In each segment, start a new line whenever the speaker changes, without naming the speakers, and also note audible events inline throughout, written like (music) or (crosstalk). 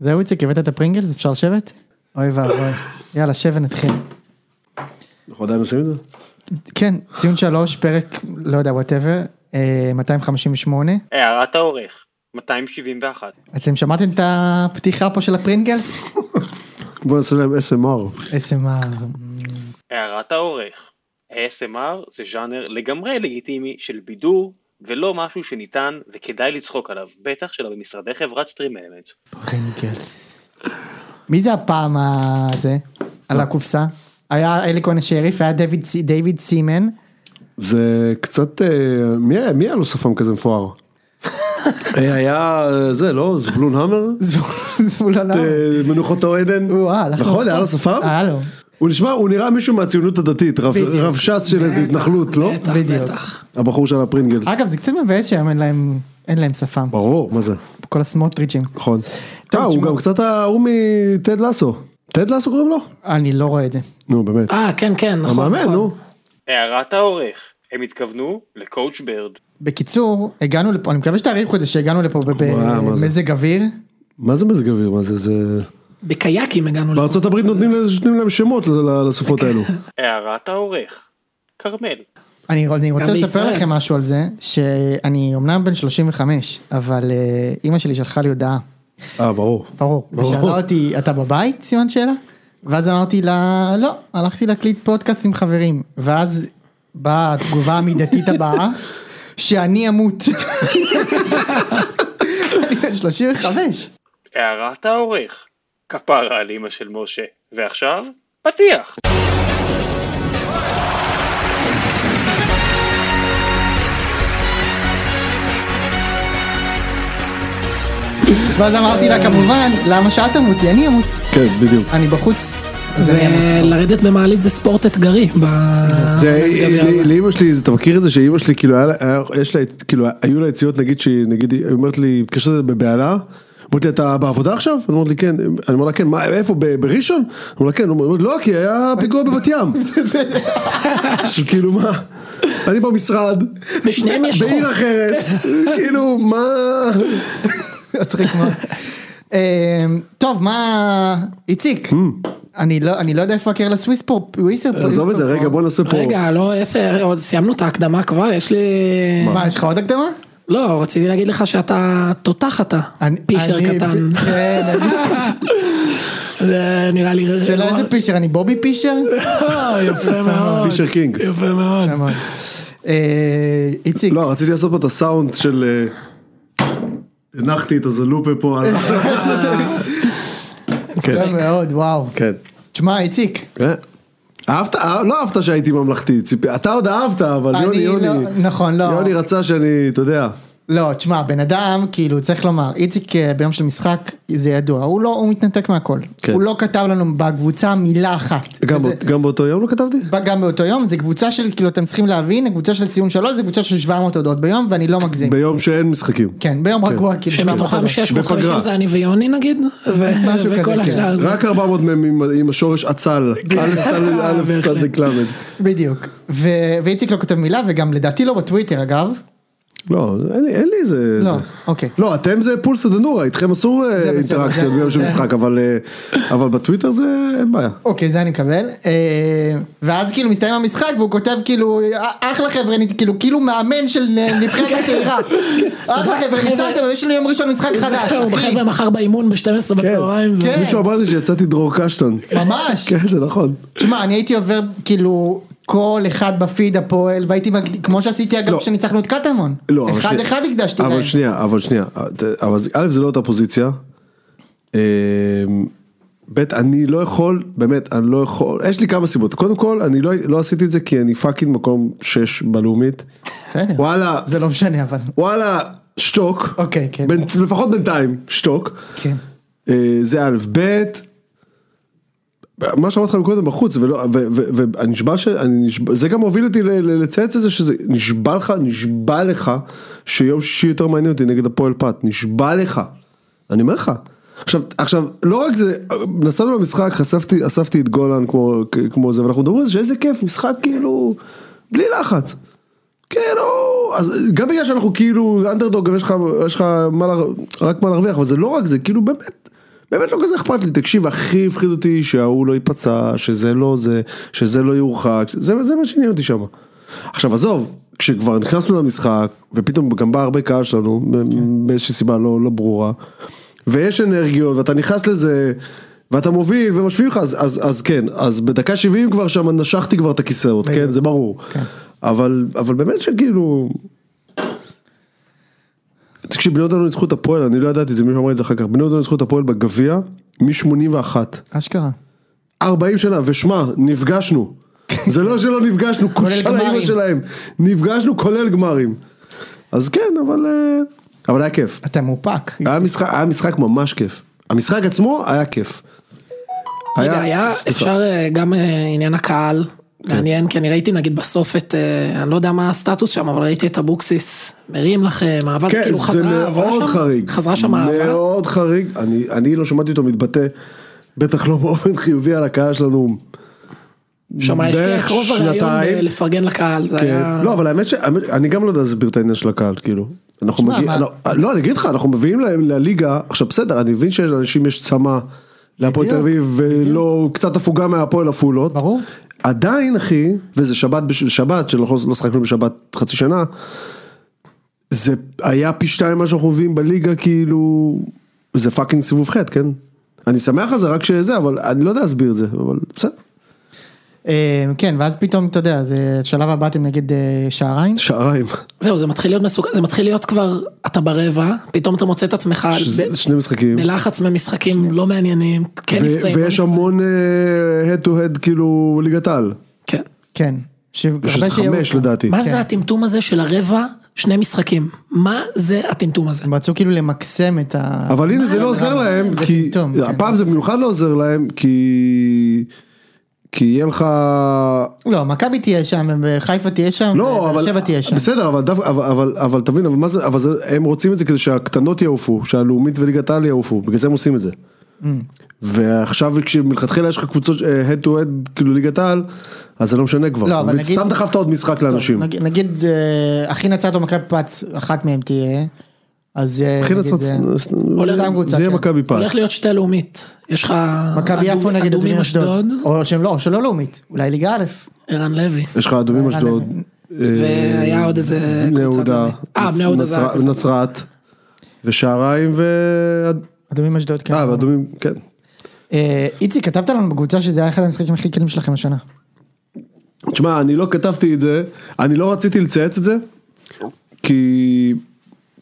זהו איציק, הבאת את הפרינגלס? אפשר לשבת? אוי ואבוי. יאללה, שב ונתחיל.
אנחנו עדיין עושים את זה?
כן, ציון שלוש, פרק, לא יודע, אה, וואטאבר, 258.
הערת העורך, 271.
אתם שמעתם את הפתיחה פה של הפרינגלס?
בוא נעשה להם SMR.
SMR.
הערת העורך, ASMR זה ז'אנר לגמרי לגיטימי של בידור, ולא משהו שניתן וכדאי לצחוק עליו, בטח שלא במשרדי חברת סטרים אלמנט.
פרינגלס. מי זה הפעם הזה? על הקופסה? היה אלי כהן השריף, היה דיוויד סי- דיוויד סימן.
זה קצת, אה, מי היה- מי היה לו שפם כזה מפואר? אה, היה אה, זה לא זבולון המר?
זבול- זבולון. אורן.
אה, מנוחות העדן?
הוא, אה, הלך לו
נכון, היה לו
רחוק.
שפם?
היה לו.
הוא נשמע, הוא נראה מישהו מהציונות הדתית, רב-
בדיוק.
רב ש"ס של איזה התנחלות, לא?
בדיוק.
הבחור של הפרינגלס.
אגב, זה קצת מבאס שהיום אין להם, אין להם שפם.
ברור, מה זה?
כל הסמוטריצ'ים.
נכון.
טוב,
אה, הוא
תשמע.
גם קצת ההוא מטד לסו. טד לסו קוראים לו?
אני לא רואה את זה.
נו באמת.
אה, כן, כן, נכון.
המאמן, נו.
הערת העורך, הם התכוונו לקואוצ' ברד.
בקיצור, הגענו לפה, אני מקווה שתעריכו את זה שהגענו לפה ב-
וואו, מה זה?
במזג אוויר.
מה זה מזג אוויר? מה זה? זה...
בקייקים הגענו לפה.
בארצות הברית נותנים לזה- נותנים להם שמות ל-
כן.
לסופות
(laughs)
האלו.
הערת העורך, כרמל.
אני אני רוצה לספר
גם בישראל.
לכם משהו על זה, שאני אמנם בן 35, אבל אה, אימא שלי שלחה לי הודעה,
אה, ברור.
ברור, ושאלה אותי, אתה בבית? סימן שאלה. ואז אמרתי לה, לא, הלכתי להקליט פודקאסט עם חברים. ואז באה התגובה המידתית הבאה, שאני אמות. (laughs) אני בן 35.
הערת העורך, כפרה על אמא של משה. ועכשיו, פתיח.
ואז אמרתי לה, כמובן, למה שאת תמותי? אני אמות.
כן, בדיוק.
אני בחוץ. אז
זה
אני אמות.
לרדת במעלית זה ספורט אתגרי. ב-
זה,
במזג האוויר
לי-
הזה.
לאמא שלי, אתה מכיר את זה שאמא שלי, כאילו, היה לה- היה- יש לה, כאילו, היו לה יציאות, נגיד, שהיא, נגיד, היא אומרת לי, התקשרת לזה בבהלה, אמרתי לה, אתה בעבודה עכשיו? אני אומר לי, כן, אני אומר לה, כן, מה, איפה, ב- בראשון? אני אומר לה, כן, הוא אומר, לא, כי היה פיגוע בבת
(laughs)
ים. עכשיו, כאילו, מה, אני במשרד,
בשניהם יש חוק.
בעיר
(laughs)
אחרת, כאילו, מה,
מצחיק מאוד. אמ, טוב מה איציק אני לא אני לא יודע איפה הקרלס וויספור וויסר פה.
Mm. עזוב את זה, רגע, בוא נעשה פה,
רגע, לא, עשר, עוד סיימנו את ההקדמה כבר, יש לי...
מה יש לך עוד הקדמה?
לא, רציתי להגיד לך שאתה תותח אתה,
אני-
פישר
אני- (laughs)
קטן.
כן,
(laughs)
אני-
זה נראה לי... לא,
שאלה איזה פישר אני בובי פישר?
אה, יפה מאוד.
פישר קינג.
יפה מאוד.
אמר. לא, אה, איציק
לא, רציתי לעשות פה את הסאונד של... אה, הנחתי את הזלופה פה על...
טוב מאוד וואו.
כן.
תשמע איציק.
כן. אהבת? אה, לא אהבת שהייתי ממלכתי, ציפי. אתה עוד אהבת, אבל
אני
יוני, יוני.
לא- נכון, לא.
יוני רצה שאני, אתה יודע.
לא תשמע בן אדם כאילו צריך לומר איציק אה, ביום של משחק זה ידוע הוא לא הוא מתנתק מהכל.
כן.
הוא לא כתב לנו בקבוצה מילה אחת.
גם
וזה-
בא- גם באותו יום לא כתבתי?
בא גם באותו יום זה קבוצה של כאילו אתם צריכים להבין הקבוצה של ציון שלוש זה קבוצה של 700 הודעות ביום ואני לא מגזים.
ביום שאין משחקים.
כן ביום רגוע כאילו 700
שמתוכם
הודעות.
650
בפגרה.
זה אני ויוני נגיד, ו-
משהו כזה, כן.
וכל השאר זה...
רק 400 מהם עם- עם השורש עצל. א' צל א' צדיק ל'.
בדיוק ו- ואיציק לא כותב מילה וגם לדעתי לא בטוויטר אגב.
לא, אין לי- אין לי איזה...
לא
זה.
אוקיי.
לא, אתם זה פולסא דנורא, איתכם אסור אה,
זה בסדר,
אינטראקציות
זה-
ביום של
(laughs) זה-
משחק, אבל, אה, אבל בטוויטר זה אין בעיה.
אוקיי זה אני מקבל אה, ואז כאילו מסתיים המשחק והוא כותב כאילו "אה, אחלה חבר'ה נ- כאילו כאילו מאמן של נ- נבחרת צעירה. אחלה חבר'ה ניצחתם אבל יש לנו יום ראשון משחק חדש
זהו,
אחי.
(laughs) חבר'ה מחר באימון ב-12 בצהריים. זה-
כן.
מישהו אמר לי שיצאתי דרור קשטון.
ממש.
כן, זה נכון.
תשמע אני הייתי עובר כאילו כל אחד בפיד הפועל והייתי מגד- כמו שעשיתי אגב
לא.
כשניצחנו את קטמון.
לא, אבל
אחד
שנייה-
אחד הקדשתי להם.
אבל שנייה, אבל שנייה, אבל זה- א', זה לא אותה פוזיציה. אמ, ב', אני לא יכול, באמת, אני לא יכול, יש לי כמה סיבות. קודם כל, אני לא- לא עשיתי את זה כי אני פאקינג מקום
(laughs)
6 בלאומית.
בסדר.
וואלה,
זה לא משנה אבל.
וואלה, שתוק.
אוקיי, כן.
בין- לפחות בינתיים, שתוק.
כן.
אה, זה א', ב', מה שאמרתי לך קודם בחוץ, ולא- ו- ו- ואני נשבע ש... אני נשבע- זה גם הוביל אותי ל- ל- לצייץ את זה, שזה נשבע לך, נשבע לך, שיום שישי יותר מעניין אותי נגד הפועל פת, נשבע לך, אני אומר לך. עכשיו, עכשיו, לא רק זה, נסענו למשחק, חשפתי, אספתי את גולן כמו, כמו זה, ואנחנו מדברים על זה שאיזה כיף, משחק כאילו, בלי לחץ. כאילו, אז גם בגלל שאנחנו כאילו אנדרדוג, יש לך, יש לך מה, לה- רק מה להרוויח, אבל זה לא רק זה, כאילו באמת, באמת לא כזה אכפת לי, תקשיב, הכי הפחיד אותי שההוא לא ייפצע, שזה לא זה, שזה לא יורחק, זה, זה מה שעניין אותי שם. עכשיו עזוב, כשכבר נכנסנו למשחק, ופתאום גם בא הרבה קהל שלנו, כן. באיזושהי סיבה לא, לא ברורה, ויש אנרגיות, ואתה נכנס לזה, ואתה מוביל, ומשווים לך, אז, אז, אז כן, אז בדקה 70 כבר שם נשכתי כבר את הכיסאות,
בדיוק.
כן, זה ברור.
כן.
אבל, אבל באמת שכאילו... תקשיב, בני יהודה לא ניצחו את הפועל, אני לא ידעתי, זה מישהו אמר את זה אחר כך, בני יהודה לא ניצחו את הפועל בגביע מ-81,
אשכרה.
40 שנה, ושמע, נפגשנו. זה לא שלא נפגשנו, כולל
גמרים.
גמרים. שלהם. נפגשנו כולל גמרים. אז כן, אבל... אה, אבל היה כיף.
אתה מופק.
היה משחק, היה משחק ממש כיף. המשחק עצמו היה כיף.
רגע, היה, אפשר אה, גם אה, עניין הקהל,
כן.
מעניין, כי אני ראיתי נגיד בסוף את, אה, אני לא יודע מה הסטטוס שם, אבל ראיתי את אבוקסיס, מרים לכם, אהבה,
כן,
כאילו
זה
חזרה, עברה
מאוד
שם-
חריג.
חזרה שם אהבה,
מאוד חריג. אני, אני לא שמעתי אותו מתבטא, בטח לא באופן חיובי על הקהל שלנו.
שם יש
בערך
לך רוב הרעיון
שנתיים.
ב- לפרגן לקהל, זה
אה,
היה,
לא, אבל האמת שאני גם לא יודע להסביר את העניין של הקהל, כאילו. אנחנו
שמע,
מגיעים,
מה-
לא, לא, אני אגיד לך, אנחנו מביאים להם לליגה, עכשיו בסדר, אני מבין שלאנשים יש צמא להפועל תל
בדיוק,
אביב, ולא קצת הפוגה מהפועל עפולות.
ברור.
עדיין אחי, וזה שבת, בש- שבת, שלא לא שחקנו בשבת חצי שנה, זה היה פי שתיים מה שאנחנו מביאים בליגה, כאילו, זה פאקינג סיבוב חטא, כן? אני שמח על זה רק שזה, אבל אני לא יודע להסביר את זה, אבל בסדר,
אה, כן, ואז פתאום, אתה יודע, זה שלב הבא אתם נגד אה, שעריים.
שעריים,
זהו, זה מתחיל להיות מסוכן, זה מתחיל להיות כבר, אתה ברבע, פתאום אתה מוצא את עצמך
שזה-
ב-
שני משחקים.
בלחץ ממשחקים לא מעניינים, כן
ו-
נפצעים, לא
ויש
נפצעים.
המון אה, head to head כאילו ליגת על,
כן.
כן. שהרבה
שזה
שיעוף
חמש
לך.
לדעתי.
מה זה הטמטום הזה של הרבע, שני משחקים? מה זה הטמטום הזה?
הם רצו כאילו למקסם את ה...
אבל הנה זה לא עוזר
זה
להם,
זה
כי
טמטום, כן.
הפעם זה במיוחד לא עוזר להם, כי כי יהיה לך,
לא, מכבי תהיה שם, וחיפה תהיה שם,
לא
ובאר
אבל,
שבע תהיה שם.
בסדר אבל דווקא, אבל- אבל אבל תבין, אבל מה זה, אבל זה- הם רוצים את זה כדי שהקטנות יעופו, שהלאומית וליגת העל יעופו, בגלל זה הם עושים את זה.
Mm.
ועכשיו כשמלכתחילה יש לך קבוצות אה, head to head כאילו ליגת העל, אז זה לא משנה כבר,
לא, אבל
אבל
נגיד-
סתם דחפת עוד משחק
טוב,
לאנשים.
נגיד- נגיד, אה, הכי נצרת או מכבי פץ, אחת מהם תהיה. אז אה,
הכי
נגיד
לצאת-
זה-
זה
סתם קבוצה,
זה יהיה
כן.
מכבי פעם.
אוקיי. הולך להיות שתי לאומית. יש לך
מכבי
אדום-
יפו נגד
אדומים אשדוד,
או שהם לא, או שלא לאומית, אולי ליגה א'.
ערן לוי,
יש לך אדומים
אה,
אשדוד,
והיה עוד איזה
בני
קבוצה
יהודה,
לאומית. אה, בני יהודה זה
נצרת-
היה קבוצה.
נצרת, ושעריים ו...
אדומים אשדוד, כן.
נכון.
אה, ואדומים, כן.
אה, איציק, כתבת לנו בקבוצה שזה היה אחד המשחקים הכי קלים שלכם השנה.
תשמע, אני לא כתבתי את זה, אני לא רציתי לצייץ את זה, כי...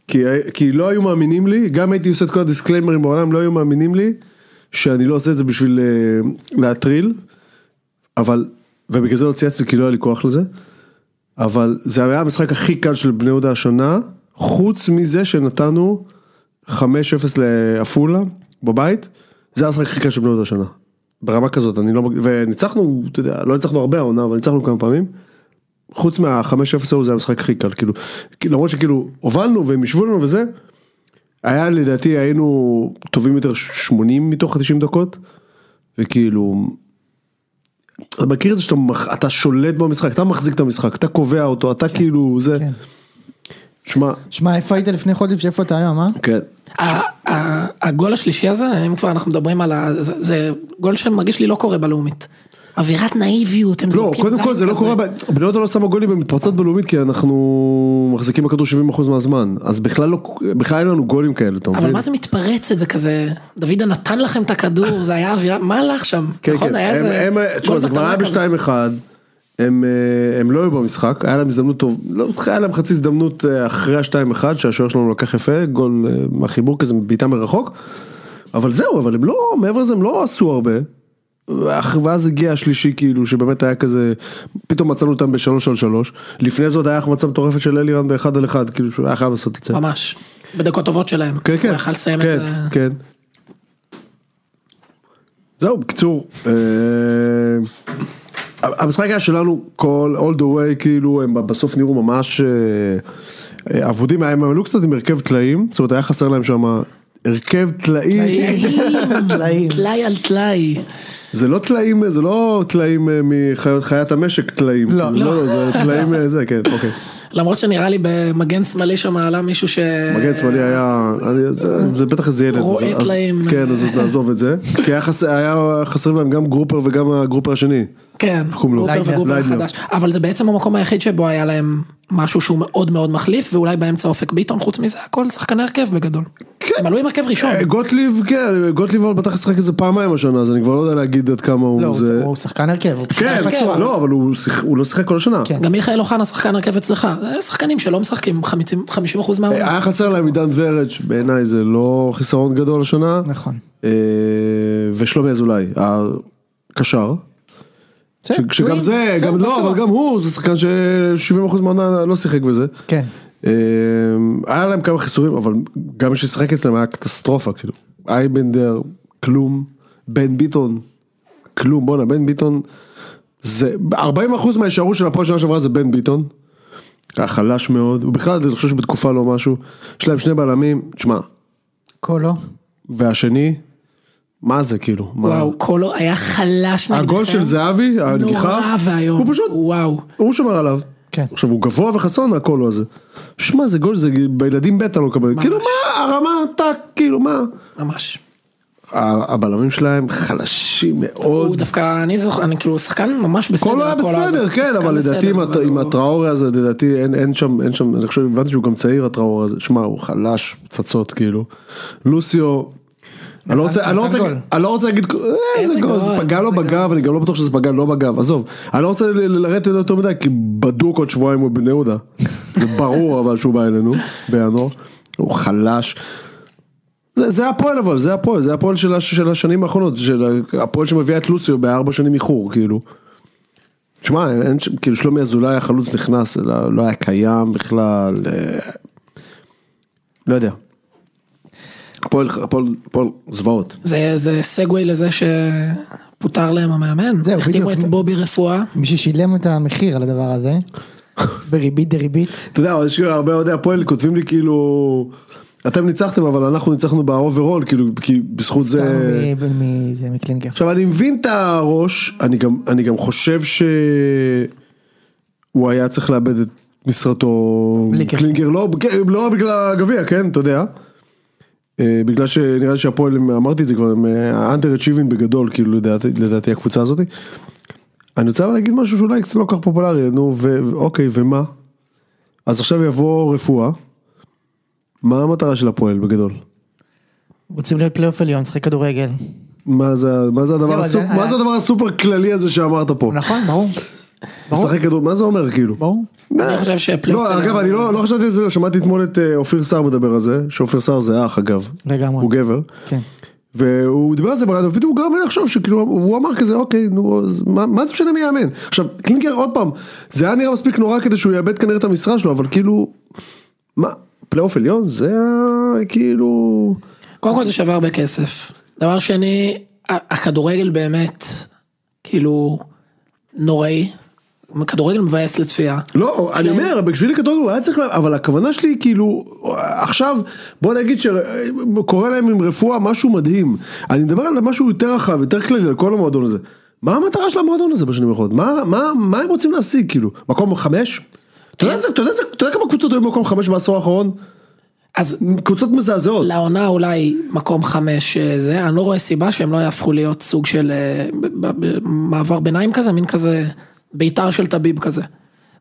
כי, כי לא היו מאמינים לי, גם הייתי עושה את כל הדיסקליימרים בעולם, לא היו מאמינים לי שאני לא עושה את זה בשביל אה, להטריל, אבל, ובגלל זה לא צייצתי כי לא היה לי כוח לזה, אבל זה היה המשחק הכי קל של בני יהודה השנה, חוץ מזה שנתנו 5-0 לעפולה בבית, זה המשחק הכי קל של בני יהודה השנה. ברמה כזאת, אני לא, מג- וניצחנו, אתה יודע, לא ניצחנו הרבה העונה, אבל ניצחנו כמה פעמים. חוץ מה-5-0 ההוא זה המשחק הכי קל, כאילו, כאילו, למרות שכאילו הובלנו והם ישבו לנו וזה, היה לדעתי היינו טובים יותר 80 מתוך 90 דקות, וכאילו, אתה מכיר את זה שאתה מח- אתה שולט במשחק, אתה מחזיק את המשחק, אתה קובע אותו, אתה כאילו זה,
כן.
שמע,
שמע, איפה היית לפני חודש, איפה אתה היום, אה?
כן,
ה- ה- הגול השלישי הזה, אם כבר אנחנו מדברים על ה... זה- זה גול שמרגיש לי לא קורה בלאומית. אווירת נאיביות, הם
לא,
זורקים
קודם כל
זין
זה לא
אוקיי, כזה.
קורה, ב- בני יהודה לא שמה גולים במתפרצות בלאומית כי אנחנו מחזיקים בכדור 70% מהזמן, אז בכלל לא, בכלל אין לנו גולים כאלה, אתה מבין?
אבל מה זה מתפרצת זה כזה, דוידה נתן לכם את הכדור, זה היה אווירה, מה הלך שם?
כן,
נכון,
כן,
היה
הם,
איזה
הם,
גול
תשמע, זה כבר
מטרה
היה
כזה.
בשתיים אחד, הם, אה, הם לא היו במשחק, היה להם הזדמנות טוב, לא, היה להם חצי הזדמנות אה, אחרי השתיים אחד, שהשוער שלנו לקח יפה, גול אה, מהחיבור כזה, בעיטה מרחוק, אבל זהו, אבל הם לא, מעבר לזה הם לא עשו הרבה. ואח- ואז הגיע השלישי כאילו שבאמת היה כזה פתאום מצאנו אותם בשלוש על שלוש לפני זאת היה החמצה מטורפת של אלירן באחד על אחד כאילו שהוא היה חייב לעשות את זה.
ממש. בדקות טובות שלהם.
כן כן,
הוא יכל לסיים את
כן,
זה.
כן. זהו בקיצור, אה, המשחק היה שלנו כל all the way כאילו הם בסוף נראו ממש אה, אה, אבודים, הם עלו קצת עם הרכב טלאים, זאת אומרת היה חסר להם שם הרכב טלאי,
טלאים.
כן.
טלאי על טלאי.
זה לא טלאים, זה לא טלאים אה, מחיית המשק טלאים,
לא.
לא, זה טלאים אה, זה כן, אוקיי.
למרות שנראה לי במגן שמאלי שם עלה מישהו ש...
מגן שמאלי היה, אני- זה- זה בטח איזה ילד.
רועט
אז- אז-
להם.
כן, אז נעזוב את זה. כי היה חס- היה חסרים להם גם גרופר וגם הגרופר השני.
כן,
קוראים לו?
גרופר
ליידנר.
וגרופר
ליידנר.
החדש, אבל זה בעצם המקום היחיד שבו היה להם משהו שהוא מאוד מאוד מחליף, ואולי באמצע אופק ביטון, חוץ מזה הכל שחקני הרכב בגדול.
כן.
הם עלו עם הרכב ראשון,
אה, גוטליב, כן, גוטליב אבל בטח ישחק איזה פעמיים השנה, אז אני כבר לא יודע להגיד עד כמה
לא,
הוא
הוא-
זה.
הוא שחקן הרכב, הוא
כן,
שחקן בצורה.
לא, אבל הוא שיח- הוא לא שיחק כל השנה.
כן.
גם מיכאל אוחנה שחקן הרכב אצלך, זה שחקנים שלא משחקים 50% 50%
אה,
מהעונה.
היה חסר להם עידן ורד, שבעיניי זה לא חיסרון גדול השנה.
נכון.
אה, ושלומי אזולאי, הקשר. ש-
בסדר,
שגם
פצועים,
זה,
בסדר,
גם לא,
בצורה.
אבל גם הוא, זה שחקן ש-70% מהעונה לא שיחק בזה.
כן.
אה, היה להם כמה חיסורים, אבל גם מי ששיחק אצלם היה קטסטרופה, כאילו. אייבנדר, כלום. בן ביטון, כלום. בואנה, בן ביטון, זה... 40% מההישארות של הפועל שנה שעברה זה בן ביטון. היה חלש מאוד, הוא בכלל, אני חושב שבתקופה לא משהו. יש להם שני בלמים, תשמע,
קולו.
והשני, מה זה כאילו? מה-
וואו, קולו היה חלש נגדכם.
הגול של זהבי, הנגיחה,
נורא ואיום.
הוא פשוט,
וואו.
הוא שמר עליו.
כן.
עכשיו הוא גבוה וחסון הקולו הזה. שמע זה גול, זה בילדים בטח לא מקבל. כאילו מה הרמה, טאק, כאילו מה.
ממש.
ה- הבלמים שלהם חלשים
הוא
מאוד.
דווקא, אני זוכר, אני כאילו שחקן ממש בסדר.
קולו היה
הקולו הזה.
בסדר, כן,
שחקן
אבל
בסדר,
לדעתי עם
אבל לא.
הט- עם
הוא-
הטראורי הזה, לדעתי אין- אין שם, אין שם, אני חושב, הבנתי שהוא גם צעיר הטראורי הזה. שמע, הוא חלש, פצצות כאילו. לוסיו. אני לא רוצה- אני לא רוצה-
נתן גול.
אני לא רוצה להגיד, אה,
איזה
איזה גול, זה
גול,
פגע לו
איזה
בגב, אני גם לא בטוח שזה פגע לו בגב, עזוב, אני לא רוצה ל- ל- לרדת לו יותר מדי, כי בדוק עוד שבועיים הוא בני (laughs) יהודה, זה ברור אבל שהוא בא אלינו, בינואר, הוא חלש. זה זה הפועל אבל, זה הפועל, זה הפועל של הש- של השנים האחרונות, של ה- הפועל שמביאה את לוציו בארבע שנים איחור, כאילו. שמע, אין שם, כאילו שלומי אזולאי החלוץ נכנס, לא לא היה קיים בכלל, אה, לא יודע. הפועל, הפועל, הפועל זוועות.
זה זה סגווי לזה שפוטר להם המאמן.
זהו,
החתימו
בדיוק.
את בובי רפואה.
מי ששילם את המחיר על הדבר
(laughs)
הזה, בריבית דריבית,
אתה יודע, יש כאילו הרבה אוהדי הפועל כותבים לי כאילו, אתם ניצחתם אבל אנחנו ניצחנו באוברול, כאילו, כי בזכות זה...
סתם מ- מ- זה מקלינגר.
עכשיו אני מבין את הראש, אני גם, אני גם חושב שהוא היה צריך לאבד את משרתו,
בלי קשר.
קלינגר, לא, כן, לא בגלל הגביע, כן, אתה יודע. אה, בגלל שנראה לי שהפועל, הם- אמרתי את זה כבר, הם אנטר אצ'יבין בגדול, כאילו לדעתי, לדעתי הקבוצה הזאת. אני רוצה אבל להגיד משהו שאולי קצת לא כל כך פופולרי, נו, ו- ואוקיי, ומה? אז עכשיו יבוא רפואה. מה המטרה של הפועל בגדול?
רוצים להיות פלייאוף עליון, לשחק כדורגל.
מה זה, מה זה הדבר,
זהו, אז
הסופ...
אני-
מה זה הדבר הסופר כללי הזה שאמרת פה?
נכון, ברור. ברור.
לשחק כדור, מה זה אומר כאילו?
ברור.
אני חושב שפלייאוף
לא,
עליון-
אגב, אני לא לא חשבתי על זה, שמעתי אתמול את אה, אופיר סער מדבר על זה, שאופיר סער זה אח אגב,
לגמרי.
הוא גבר,
כן.
והוא דיבר על זה ברדיו, ופתאום הוא גרם לי לחשוב שכאילו, הוא אמר כזה, אוקיי, נו, אז מה מה זה משנה מי יאמן? עכשיו, קלינגר עוד פעם, זה היה נראה מספיק נורא כדי שהוא יאבד כנראה את המשרה שלו, אבל כאילו, מה, פלייאוף עליון זה ה- כאילו,
קודם כל זה שווה הרבה כסף. דבר שני, ה- הכדורגל באמת, כאילו, נוראי. כדורגל מבאס לצפייה.
לא, אני אומר, בשביל הכדורגל הוא היה צריך, לה- אבל הכוונה שלי היא כאילו, עכשיו, בוא נגיד שקורה להם עם רפואה משהו מדהים. אני מדבר על משהו יותר רחב, יותר כללי, על כל המועדון הזה. מה המטרה של המועדון הזה בשנים האחרונות? מה, מה, מה הם רוצים להשיג, כאילו? מקום חמש? אתה יודע, איזה- אתה יודע, איזה- אתה יודע כמה קבוצות היו במקום חמש בעשור האחרון?
אז
קבוצות מזעזעות.
לעונה אולי מקום חמש אה, זה, אני לא רואה סיבה שהם לא יהפכו להיות סוג של אה, ב- ב- ב- מעבר ביניים כזה, מין כזה בית"ר של טביב כזה.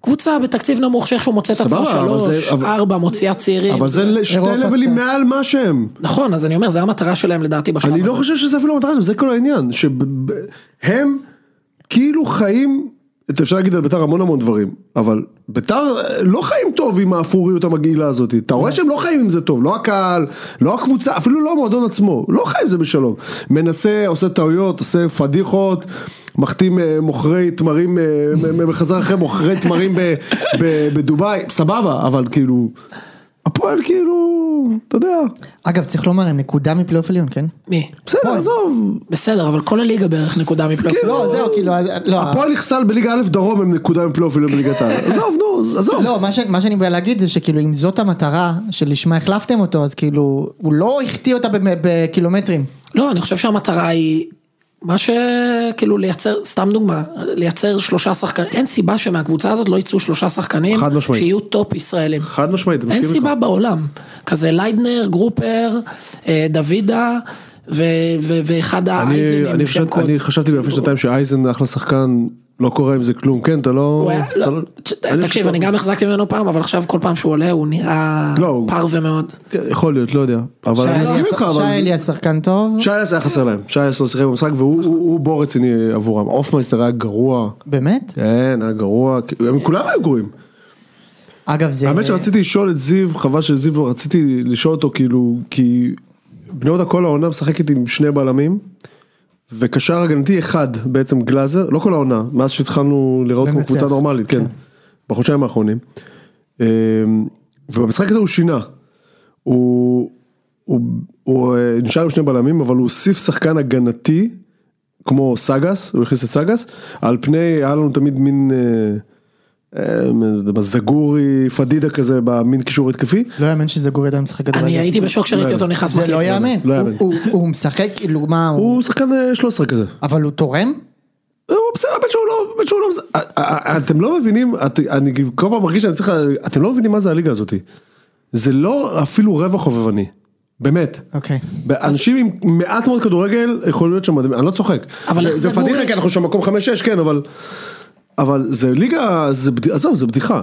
קבוצה בתקציב נמוך שאיכשהו מוצא את עצמה
סבבה, אבל
שלוש,
זה- אבל-
ארבע, מוציאה צעירים.
אבל זה שתי
לא, אירופה
לבלים
קצת.
מעל מה שהם.
נכון, אז אני אומר, זה המטרה שלהם לדעתי בשלב
אני
הזה.
לא חושב שזה אפילו המטרה שלהם, זה כל העניין, שהם כאילו חיים, אתה אפשר להגיד על ביתר המון המון דברים, אבל ביתר אה, לא חיים טוב עם האפוריות המגעילה הזאת, אתה רואה שהם לא חיים עם זה טוב, לא הקהל, לא הקבוצה, אפילו לא המועדון עצמו, לא חיים עם זה בשלום, מנסה, עושה טעויות, עושה פדיחות. מחתים אה, מוכרי תמרים, אה, מ- מ- בחזרה אחרי מוכרי תמרים ב- ב- בדובאי, סבבה, אבל כאילו, הפועל כאילו, אתה יודע,
אגב, צריך לומר, הם נקודה מפלייאוף עליון, כן?
מי?
בסדר, עזוב,
בסדר, אבל כל הליגה בערך נקודה מפלייאוף.
כאילו,
לא, זהו, כאילו, אז- לא,
הפועל נכסל בליגה א' דרום הם נקודה עם פלייאוף עליון בליגת (laughs) העל. עזוב, נו, עזוב.
לא, מה, ש, מה שאני בא להגיד זה שכאילו אם זאת המטרה שלשמה החלפתם אותו אז כאילו הוא לא החטיא אותה במ- בקילומטרים.
לא, אני חושב שהמטרה היא מה שכאילו לייצר, סתם דוגמה, לייצר שלושה שחקנים, אין סיבה שמהקבוצה הזאת לא יצאו שלושה שחקנים,
חד משמעית.
שיהיו טופ ישראלים.
חד משמעית, אני
אין
מסכים
סיבה
איתך.
בעולם. כזה ליידנר, גרופר, אה, דוידה, ו- ו- ואחד
אני,
האייזנים
אני,
שם
חשבת, אני חשבתי לפני שנתיים שאייזן אחלה שחקן, לא קורה עם זה כלום, כן, אתה לא...
הוא היה-
אתה
לא,
לא-
ת-
אני
תקשיב,
חושב-
אני גם החזקתי ממנו פעם, אבל עכשיו כל פעם שהוא עולה הוא נראה
לא, הוא-
פרווה מאוד.
כן, יכול להיות, לא יודע. אבל אני מסכים איתך, אבל...
שי אלי השחקן טוב,
שי אליאס היה חסר להם, שי אליאס לא שיחק במשחק והוא הוא- הוא בור רציני עבורם, אופמייסטר היה גרוע,
באמת?
כן היה גרוע, כי- הם כולם היו גרועים.
אגב זה...
אה.
האמת שרציתי לשאול את זיו, חבל שזיו לא רציתי לשאול אותו כאילו, כי בני יהודה כל העונה משחקת עם שני בלמים, וקשר הגנתי אחד בעצם גלאזר, לא כל העונה, מאז שהתחלנו לראות כמו
ומנצח.
קבוצה נורמלית, כן, בחודשיים האחרונים. אמ, ובמשחק הזה הוא שינה, הוא, הוא, הוא אה, נשאר עם שני בלמים, אבל הוא הוסיף שחקן הגנתי, כמו סגס, הוא הכניס את סגס, על פני, היה לנו תמיד מין... אה, אה, מ- יודע מה, זגורי פדידה כזה במין קישור התקפי.
לא יאמן שזה גורי עדיין משחק כדורגל.
אני הייתי בשוק כשראיתי אותו נכנס
זה
מחליף.
לא יאמן.
לא יאמן.
הוא- הוא- הוא משחק כאילו מה הוא...
הוא שחקן אה, 13 כזה.
אבל הוא תורם?
אה, הוא בסדר, האמת שהוא לא, האמת שהוא לא, מז- אה, אה, אה, אתם לא מבינים, את- אני כל פעם מרגיש שאני צריך, לה- אתם לא מבינים מה זה הליגה הזאתי. זה לא אפילו רבע חובבני. באמת.
אוקיי.
אנשים עם מעט מאוד כדורגל יכולים להיות שם, מדהים. אני לא צוחק.
אבל
זה-
איך
זה
זגורי?
פדיחה, כי אנחנו שם מקום 5-6, כן, אבל... אבל זה ליגה, זה בד- עזוב, זה בדיחה.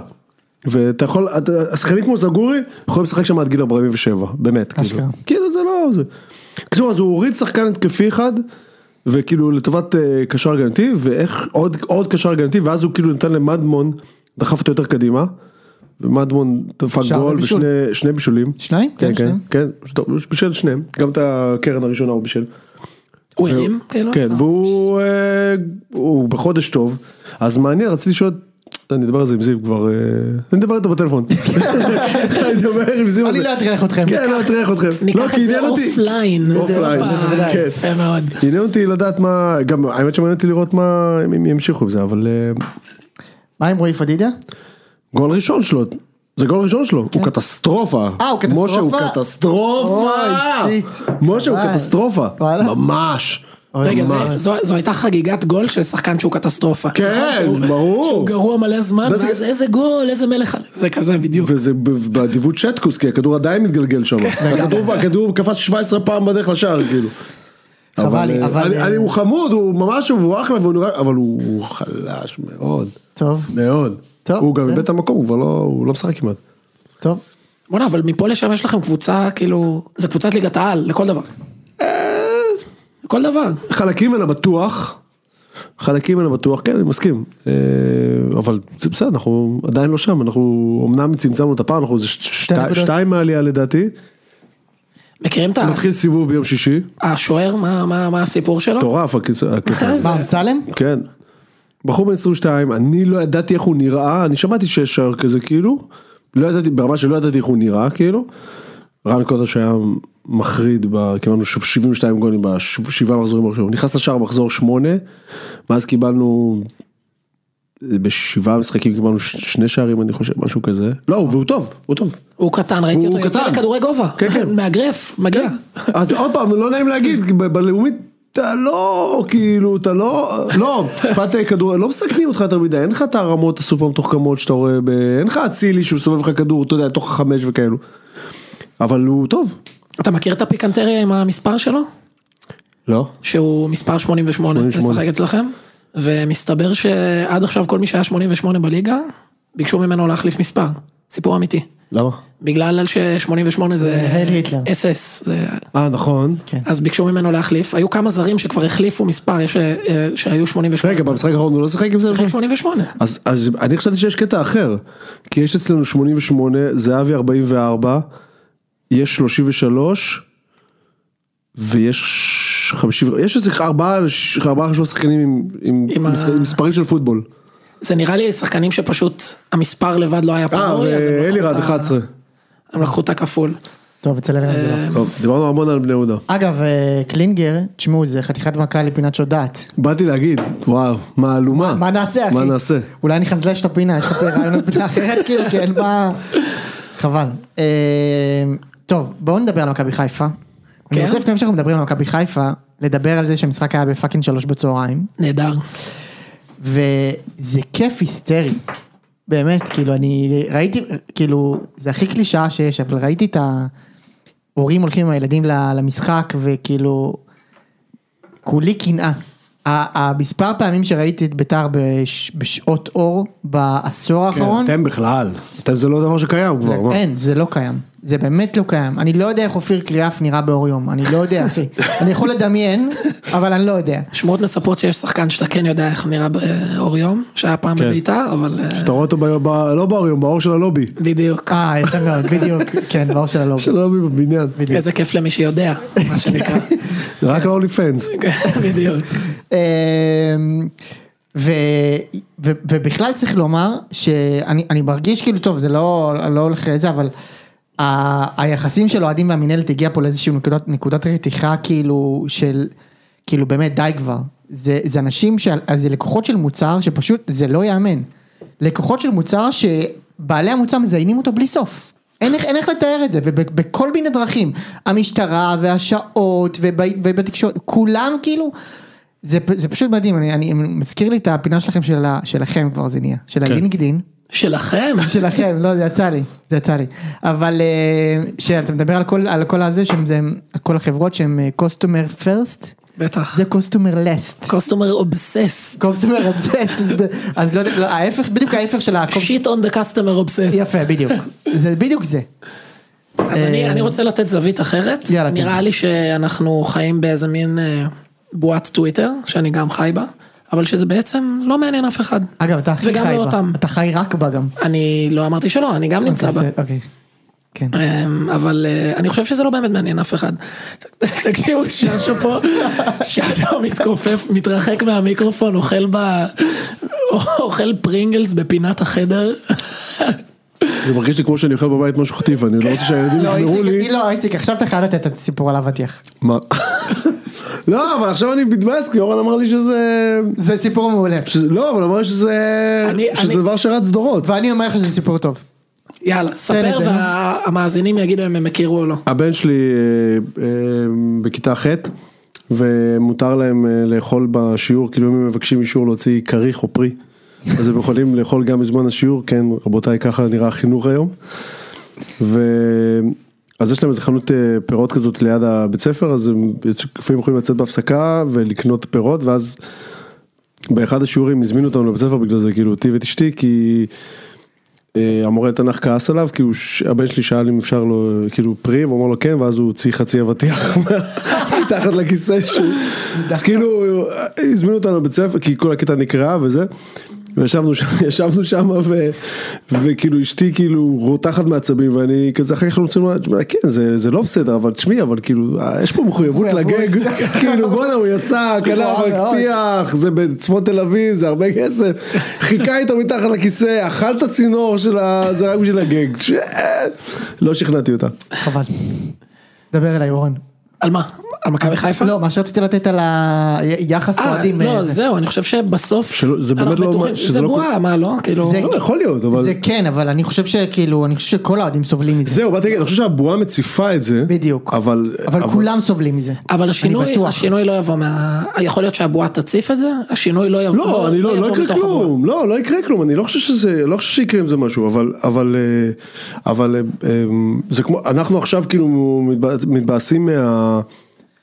ואתה יכול, אתה- השחקנים כמו זגורי יכולים לשחק שם עד גיל 47, באמת, כאילו,
אשכרה.
כאילו זה לא, זה, כאילו אז הוא הוריד שחקן התקפי אחד, וכאילו לטובת אה, קשר הגנתי, ואיך עוד, עוד קשר הגנתי, ואז הוא כאילו נתן למדמון, דחף אותו יותר קדימה, ומדמון דפק
שער
גול
ובישול.
ושני שני בישולים,
שניים?
כן, כן,
שניים.
כן, טוב, הוא בישל שניהם, גם את הקרן הראשונה הוא בישל.
הוא הרים?
לא
כאילו?
כן,
אה.
והוא אה, הוא בחודש טוב, אז מעניין, רציתי לשאול, אני אדבר על זה עם זיו כבר, אה, אני אדבר איתו
(laughs)
בטלפון. אני אדבר עם זיו על
אני
זה.
לא אטריח אתכם.
כן, לא אטריח אתכם. לא,
ניקח
כי
את זה
עניין אותי.
אופליין.
אופליין,
הופה,
בוודאי. כן.
יפה מאוד.
עניין אותי לדעת מה, גם האמת שמעניין אותי לראות מה, אם אם ימשיכו עם זה, אבל אה,
מה עם רועי פדידיה?
גול ראשון שלו, זה גול ראשון שלו, הוא קטסטרופה.
כן. אה, הוא קטסטרופה?
משה הוא קטסטרופה.
אוי, שיט.
משה הוא
חבל.
קטסטרופה.
וואלה.
ממש.
רגע, זה-
ממש.
זו- זו הייתה חגיגת גול של שחקן שהוא קטסטרופה.
כן,
נכון? שהוא-
ברור.
שהוא גרוע מלא זמן,
וזה-
ואז איזה גול, איזה מלך. על- זה כזה בדיוק.
וזה ב- באדיבות שטקוס, כי הכדור עדיין מתגלגל שם.
כן,
הכדור- הכדור קפץ 17 פעם בדרך לשער, כאילו.
חבל לי,
אה,
אבל...
אני-
אה,
אני- הוא חמוד, הוא ממש, הוא אחלה, והוא נראה, אבל הוא הוא חלש מאוד,
טוב,
מאוד.
טוב,
הוא גם
בסדר.
איבד את המקום, הוא כבר לא, הוא לא משחק כמעט.
טוב.
בוא'נה, אבל מפה לשם יש לכם קבוצה, כאילו, זה קבוצת ליגת העל, לכל דבר.
אה.
לכל דבר.
חלקים ממנה בטוח, חלקים ממנה בטוח, כן, אני מסכים. אה, אבל זה בסדר, אנחנו עדיין לא שם, אנחנו אמנם צמצמנו את הפער, אנחנו איזה ש- שתי-
נקודות.
שתיים מהעלייה לדעתי.
מכירים את ה-
נתחיל סיבוב ביום שישי,
השוער, מה- מה מה הסיפור שלו?
מטורף הקטע הקטע הזה.
מה, אמסלם?
כן. בחור בן 22, אני לא ידעתי איך הוא נראה, אני שמעתי שיש שער כזה כאילו, לא ידעתי, ברמה שלא ידעתי איך הוא נראה כאילו. רן קודש היה מחריד, ב- קיבלנו ש- 72 גולים בשבעה מחזורים הראשונים, נכנס לשער מחזור 8, ואז קיבלנו, בשבעה משחקים קיבלנו ש- שני שערים אני חושב, משהו כזה. לא, והוא טוב, הוא טוב.
הוא קטן, ראיתי
הוא
אותו, יוצא
קטן.
לכדורי גובה.
כן, כן.
מאגרף, מגיע.
אז עוד פעם, לא נעים להגיד, כי ב- בלאומית, אתה לא, כאילו, אתה לא, לא, באת כדור, לא מסכנים אותך יותר מדי, אין לך את הרמות הסופר מתוחכמות שאתה רואה, ב- אין לך אצילי שהוא סובב לך כדור, אתה יודע, תוך החמש וכאלו. אבל הוא טוב.
אתה מכיר את הפיקנטריה עם המספר שלו?
לא.
שהוא מספר 88,
88.
משחק אצלכם, ומסתבר שעד עכשיו כל מי שהיה 88 בליגה, ביקשו ממנו להחליף מספר. סיפור אמיתי.
למה?
בגלל ש-88 זה
זה הל היטלר.
אס-אס.
אה, נכון.
אז ביקשו ממנו להחליף, היו כמה זרים שכבר החליפו מספר, יש, אה, שהיו 88.
רגע, במשחק האחרון הוא לא שיחק עם זה?
שיחק 88.
אז, אז אני חשבתי שיש קטע אחר, כי יש אצלנו 88, זהבי 44, יש 33, ויש 50, יש איזה ארבעה, ארבעה חשבון שחקנים עם, עם,
עם
עם,
ה-
משחק, עם מספרים של פוטבול.
זה נראה לי שחקנים שפשוט המספר לבד לא היה
אה,
פנוי, אז הם לקחו
ואלירד
את ה-
11.
הם לקחו את הכפול.
טוב, אצל אלירן זה לא.
טוב, דיברנו המון על בני יהודה.
אגב, אה, קלינגר, תשמעו, זה חתיכת מכה לפינת שודעת.
באתי להגיד, וואו, מהלומה.
מה נעשה, אחי?
מה נעשה?
אולי נחזלש את הפינה, יש לך פה רעיונות פינה אחרת, כאילו, כי אין בה... חבל. אה, טוב, בואו נדבר על מכבי חיפה.
כן?
אני רוצה לפני שאנחנו מדברים על מכבי חיפה, לדבר על זה שהמשחק היה בפאקינג שלוש בצהריים,
נהדר.
וזה כיף היסטרי. באמת, כאילו, אני ראיתי, כאילו, זה הכי קלישאה שיש, אבל ראיתי את ההורים הולכים עם הילדים ל- למשחק, וכאילו, כולי קנאה. ה- המספר פעמים שראיתי את ביתר בש- בשעות אור בעשור האחרון,
אתם בכלל, אתם זה לא דבר שקיים כבר, מה?
אין, זה לא קיים. זה באמת לא קיים. אני לא יודע איך אופיר קריאף נראה באור יום, אני לא יודע, אחי. אני יכול לדמיין, אבל אני לא יודע.
שמועות מספרות שיש שחקן שאתה כן יודע איך נראה באור יום, שהיה פעם
כן.
בביתר, אבל... אה,
אתה רואה אותו ב... ב- לא באוריום, באור של הלובי.
בדיוק.
אה, יפה מאוד, בדיוק, כן, באור של הלובי.
של הלובי בבניין.
איזה כיף למי שיודע, מה
(laughs)
שנקרא.
רק לאולי פנס.
בדיוק.
אמ, ו, ו, ובכלל צריך לומר שאני אני מרגיש כאילו טוב זה לא, לא הולך לזה אבל ה, היחסים של אוהדים והמינהלת הגיע פה לאיזושהי נקודת, נקודת רתיחה כאילו של כאילו באמת די כבר זה, זה אנשים שעל- אז זה לקוחות של מוצר שפשוט זה לא ייאמן לקוחות של מוצר שבעלי המוצר מזיינים אותו בלי סוף. אין איך, אין איך לתאר את זה, ובכל מיני דרכים, המשטרה והשעות וב, ובתקשורת, כולם כאילו, זה, פ- זה פשוט מדהים, אני, אני מזכיר לי את הפינה שלכם, של ה, שלכם כבר זה נהיה,
כן.
של הלינקדין,
שלכם.
שלכם, לא, זה יצא לי, זה יצא לי, אבל אה, שאתה מדבר על כל, על כל הזה, שהם, זה, על כל החברות שהם אה, customer first,
בטח.
זה customer last.
קוסטומר אובסס.
customer obsessed, אז לא יודע, לא, ההפך, בדיוק ההפך של ה...
שיט און דה קסטומר אובסס.
יפה, בדיוק, זה בדיוק זה.
אז אני, אני רוצה לתת זווית אחרת.
יאללה,
נראה
תן.
לי שאנחנו חיים באיזה מין אה, בועת טוויטר, שאני גם חי בה, אבל שזה בעצם לא מעניין אף אחד.
אגב, אתה הכי
וגם
חי
לא
בה,
אותם. אתה...
אתה חי רק בה גם.
אני לא אמרתי שלא, אני גם נמצא בה.
אוקיי, זה- אוקיי, כן.
אמ, אבל אה, אני חושב שזה לא באמת מעניין אף אחד. תקשיבו, ששו פה, ששו מתכופף, מתרחק מהמיקרופון, אוכל ב... אוכל פרינגלס בפינת החדר.
זה מרגיש לי כמו שאני אוכל בבית משהו חטיף, אני לא רוצה שהילדים
לא,
יחזרו לי.
איציק, לא, איציק, עכשיו אתה חייב לתת את הסיפור על אבטיח.
מה? לא, אבל עכשיו אני מתבאס, כי אורן אמר לי שזה...
זה סיפור מעולה.
שזה- לא, אבל אמר לי שזה...
אני-
שזה
אני-
דבר שרץ דורות.
ואני אומר לך שזה סיפור טוב.
יאללה, ספר
את זה, לא. נו.
והמאזינים יגידו אם הם הכירו או לא.
הבן שלי אה, אה, בכיתה ח' ומותר להם אה, לאכול בשיעור, כאילו אם הם מבקשים אישור להוציא כריך או פרי, אז הם יכולים לאכול גם בזמן השיעור, כן רבותיי ככה נראה החינוך היום. ו... אז יש להם איזה חנות אה, פירות כזאת ליד הבית ספר, אז הם לפעמים יכולים לצאת בהפסקה ולקנות פירות, ואז באחד השיעורים הזמינו אותנו לבית ספר בגלל זה, כאילו אותי ואת אשתי, כי אה, המורה לתנ"ך כעס עליו, כי הוא, ש- הבן שלי שאל אם אפשר לו, כאילו פרי, והוא אמר לו כן, ואז הוא הוציא חצי אבטיח (laughs) מה- מתחת לכיסא שהוא, אז כאילו אה, הזמינו אותנו לבית ספר, כי כל הכיתה נקרעה וזה. וישבנו שם, (laughs) ישבנו שם ו, וכאילו אשתי כאילו רותחת מעצבים ואני כזה אחר כך רוצים לומר, "תשמע, כן זה, זה לא בסדר אבל תשמעי אבל כאילו אה, יש פה מחויבות
מחויבות.
לגג, (laughs) כאילו בואנה הוא יצא, קנה
רע מאוד.
אבטיח, אח, זה בצפון תל אביב, זה הרבה כסף. חיכה איתו מתחת לכיסא, אכל את הצינור של ה... זה רק בשביל הגג. ש- לא שכנעתי אותה.
חבל. דבר אליי, אורן.
על מה? על מכבי חיפה?
לא, מה שרציתי לתת על היחס
אה,
אוהדים.
לא,
אה, זה-
זהו, אני חושב שבסוף,
שלא- זה באמת
אנחנו
לא-
בטוחים-
שזה
זה
לא-
בועה, מה לא? כאילו,
זה-
לא יכול להיות, אבל...
זה כן, אבל אני חושב שכאילו, אני חושב שכל האוהדים סובלים מזה.
זהו, באתי להגיד, אני חושב שהבועה מציפה את זה.
בדיוק.
אבל...
אבל כולם סובלים מזה.
אבל
אני
השינוי,
בטוח.
השינוי לא יבוא מה... יכול להיות שהבועה תציף את זה? השינוי לא יבוא,
לא, אני לא, לא
יבוא
יקרה
מתוך הבועה.
כלום, לא, לא יקרה כלום, אני לא חושב שזה, לא חושב שיקרה עם זה משהו, אבל, אבל, אה, אבל אה, אה, זה כמו, אנחנו עכשיו כאילו מתבאס- מתבאסים מה...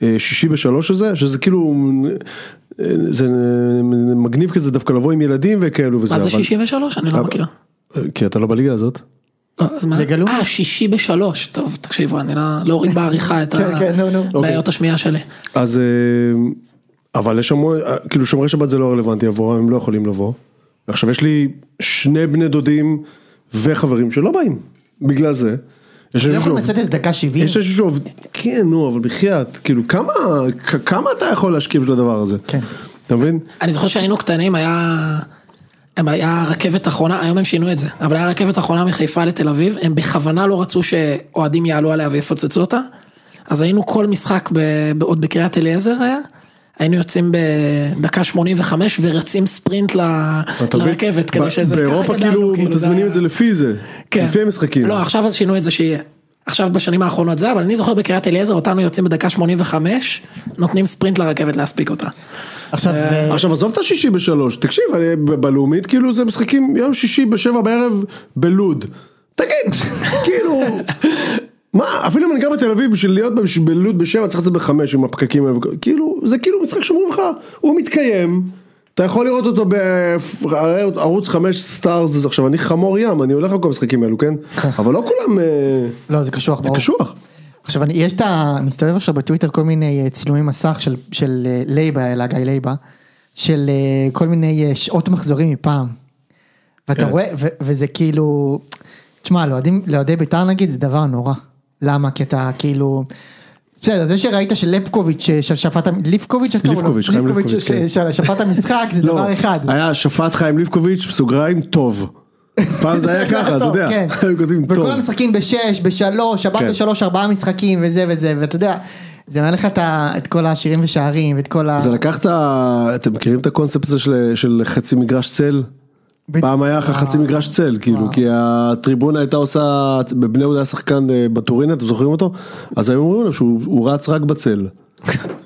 אה, שישי בשלוש הזה, שזה כאילו, אה, זה מגניב כזה דווקא לבוא עם ילדים וכאלו וזה,
מה זה
אבל-
63? אני לא
אבל-
מכיר.
כי אתה לא בליגה הזאת.
לא, אז מה?
זה גלוי?
אה, שישי בשלוש. טוב, תקשיבו, אני לא- לא אוריד בעריכה
(laughs)
את
כן, כן, נו, נו.
הבעיות השמיעה שלי.
אז, אה, אבל יש המון, אה, כאילו שומרי שבת זה לא רלוונטי עבורם, הם לא יכולים לבוא. עכשיו יש לי שני בני דודים וחברים שלא באים, בגלל זה. יש
לא
אנשים
יכולים
שעובד-
לצאת איזה דקה 70.
יש אנשים שעובד, כן נו אבל בחייאת, כאילו כמה, כ- כמה אתה יכול להשקיע בשביל הדבר הזה?
כן.
אתה מבין?
אני זוכר שהיינו קטנים, היה... הם היה רכבת אחרונה, היום הם שינו את זה, אבל היה רכבת אחרונה מחיפה לתל אביב, הם בכוונה לא רצו שאוהדים יעלו עליה ויפוצצו אותה. אז היינו כל משחק, ב, ב, עוד בקריית אליעזר היה, היינו יוצאים בדקה 85 ורצים ספרינט ל,
אתה מבין?
לרכבת, כדי
ב-
לא, שזה... ככה
באירופה
גדלנו,
כאילו
זה
מתזמנים
היה-
את זה לפי זה,
כן.
לפי המשחקים.
לא, עכשיו אז שינו את זה שיהיה. עכשיו בשנים האחרונות זה, אבל אני זוכר בקריית אליעזר אותנו יוצאים בדקה 85, נותנים ספרינט לרכבת להספיק אותה.
עכשיו, אה,
עכשיו עזוב את השישי בשלוש, תקשיב, אני- ב- בלאומית כאילו זה משחקים יום שישי בשבע בערב בלוד. תגיד, (laughs) כאילו, מה, אפילו אם אני גר בתל אביב בשביל להיות בש- בלוד בשבע צריך לצאת בחמש עם הפקקים, האלה וכ- כאילו, זה כאילו משחק שאומרים לך, הוא מתקיים. אתה יכול לראות אותו בערוץ 5 סטארס, עכשיו אני חמור ים, אני הולך לכל המשחקים
(laughs)
האלו, כן? אבל לא כולם, אה,
לא, זה קשוח,
זה
ברור.
קשוח.
עכשיו, אני, יש את ה... מסתובב עכשיו בטוויטר כל מיני אה, צילומי מסך של, של אה, לייבה, אלא גיא לייבה, של אה, כל מיני אה, שעות מחזורים מפעם. ואתה
כן.
רואה, ו, וזה כאילו... תשמע, לאוהדים- לאוהדי בית"ר נגיד זה דבר נורא. למה? כי אתה כאילו... בסדר, זה שראית שלפקוביץ' ששפט... המ- ליפקוביץ'? איך קראו לו?
ליפקוביץ', חיים ליפקוביץ',
ש-
כן.
ששפט המשחק זה דבר אחד.
לא. היה שפט חיים ליפקוביץ', בסוגריים, טוב. פעם זה
(laughs)
היה (laughs) ככה, אתה
טוב,
יודע.
כן.
היו כותבים טוב.
וכל המשחקים בשש, בשלוש, שבת
כן.
בשלוש, ארבעה משחקים וזה וזה, ואתה יודע, זה מעלה לך את ה- את כל השירים ושערים ואת כל ה...
זה לקח את ה... אתם מכירים את הקונספט הזה של, של חצי מגרש צל?
בדיוק.
פעם היה לך חצי מגרש צל, כאילו, כי הטריבונה הייתה עושה, בבני יהודה היה שחקן אה, בטורינה, אתם זוכרים אותו? אז היו אומרים לו שהוא הוא רץ רק בצל.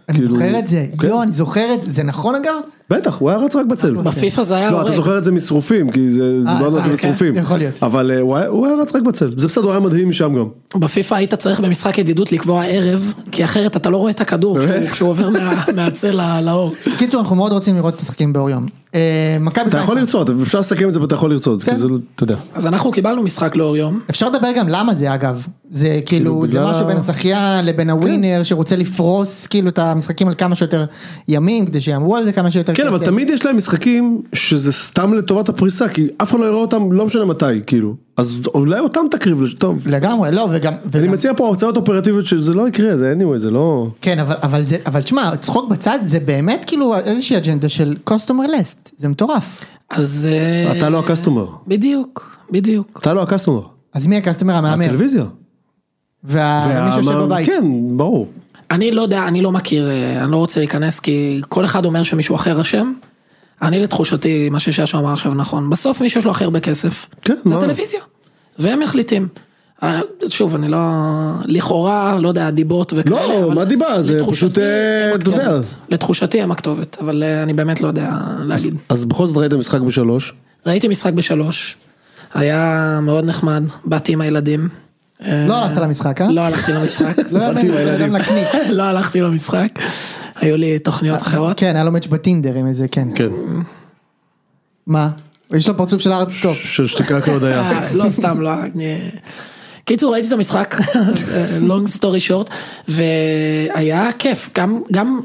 אני
כאילו,
זוכר את זה,
כן.
יואו, אני זוכר את זה, זה נכון אגב?
בטח, הוא היה רץ רק בצל.
בפיפ"א זה היה
לא, אתה
הורג.
זוכר את זה משרופים, כי זה,
אה,
דיברנו על זה
אה, כן,
משרופים.
יכול להיות.
אבל אה, הוא היה- הוא היה רץ רק בצל. זה בסדר, הוא היה מדהים משם גם.
בפיפ"א היית צריך במשחק ידידות לקבוע ערב, כי אחרת אתה לא רואה את הכדור
באמת?
כשהוא- כשהוא
(laughs)
עובר מה- מהצל ל- לאור.
קיצור, אנחנו מאוד רוצים לראות משחקים באור יום. אה, מכבי
אתה
חיפה.
יכול לרצות, אפשר לסכם את זה, אבל אתה יכול לרצות. כי
בסדר.
זה לא- אתה יודע.
אז אנחנו קיבלנו משחק לאור יום,
אפשר לדבר גם למה זה אגב, זה כאילו, זה
בגלל
משהו
ה- כן.
בין השחיין לבין הווינר שרוצה לפרוס כאילו את המשחקים על כמה שיותר ימים כדי שיאמרו על זה כמה שיותר
כן, אבל תמיד יש להם משחקים שזה סתם לטובת הפריסה, כי אף אחד לא יראה אותם, לא משנה מתי, כאילו. אז אולי אותם תקריב, לש- טוב.
לגמרי, לא, וגם...
אני
כן.
וגם-
מציע פה הצעות אופרטיביות שזה לא יקרה, זה anyway, זה לא...
כן, אבל, אבל זה, אבל תשמע, צחוק בצד זה באמת כאילו איזושהי אג'נדה של customer list, זה מטורף.
אז... אה,
אתה לא הקסטומר.
בדיוק, בדיוק.
אתה לא הקסטומר.
אז מי הקסטומר המהמר?
אה,
הטלוויזיה.
והמי שיושב
והמאמן-
בבית.
כן, ברור.
אני לא יודע, אני לא מכיר, אה, אני לא רוצה להיכנס כי כל אחד אומר שמישהו אחר אשם. אני לתחושתי, מה שששו אמר עכשיו נכון, בסוף מי שיש לו הכי הרבה כסף,
כן,
זה
מה?
הטלוויזיה, והם מחליטים. אה, שוב, אני לא, לכאורה, לא יודע, דיבות וכאלה,
לא,
אבל
מה דיבה? זה
לתחושתי
פשוט, אה,
הם
אתה יודע.
הכתובת. לתחושתי הם הכתובת, אבל אה, אני באמת לא יודע להגיד.
אז בכל זאת ראית משחק בשלוש.
ראיתי משחק בשלוש, היה מאוד נחמד, באתי עם הילדים.
לא הלכת למשחק, אה?
לא הלכתי למשחק,
לא יאמן,
באתי עם
בן אדם
הילדים.
נקניק.
(laughs) לא הלכתי למשחק, היו לי תוכניות אחרות.
כן, היה לו מאץ' בטינדר עם איזה, כן.
כן.
מה? יש לו פרצוף של ארטסטופ.
של שתיקה כהודיה.
אה, לא סתם לא אני... קיצור ראיתי את המשחק אה, long story short והיה כיף גם גם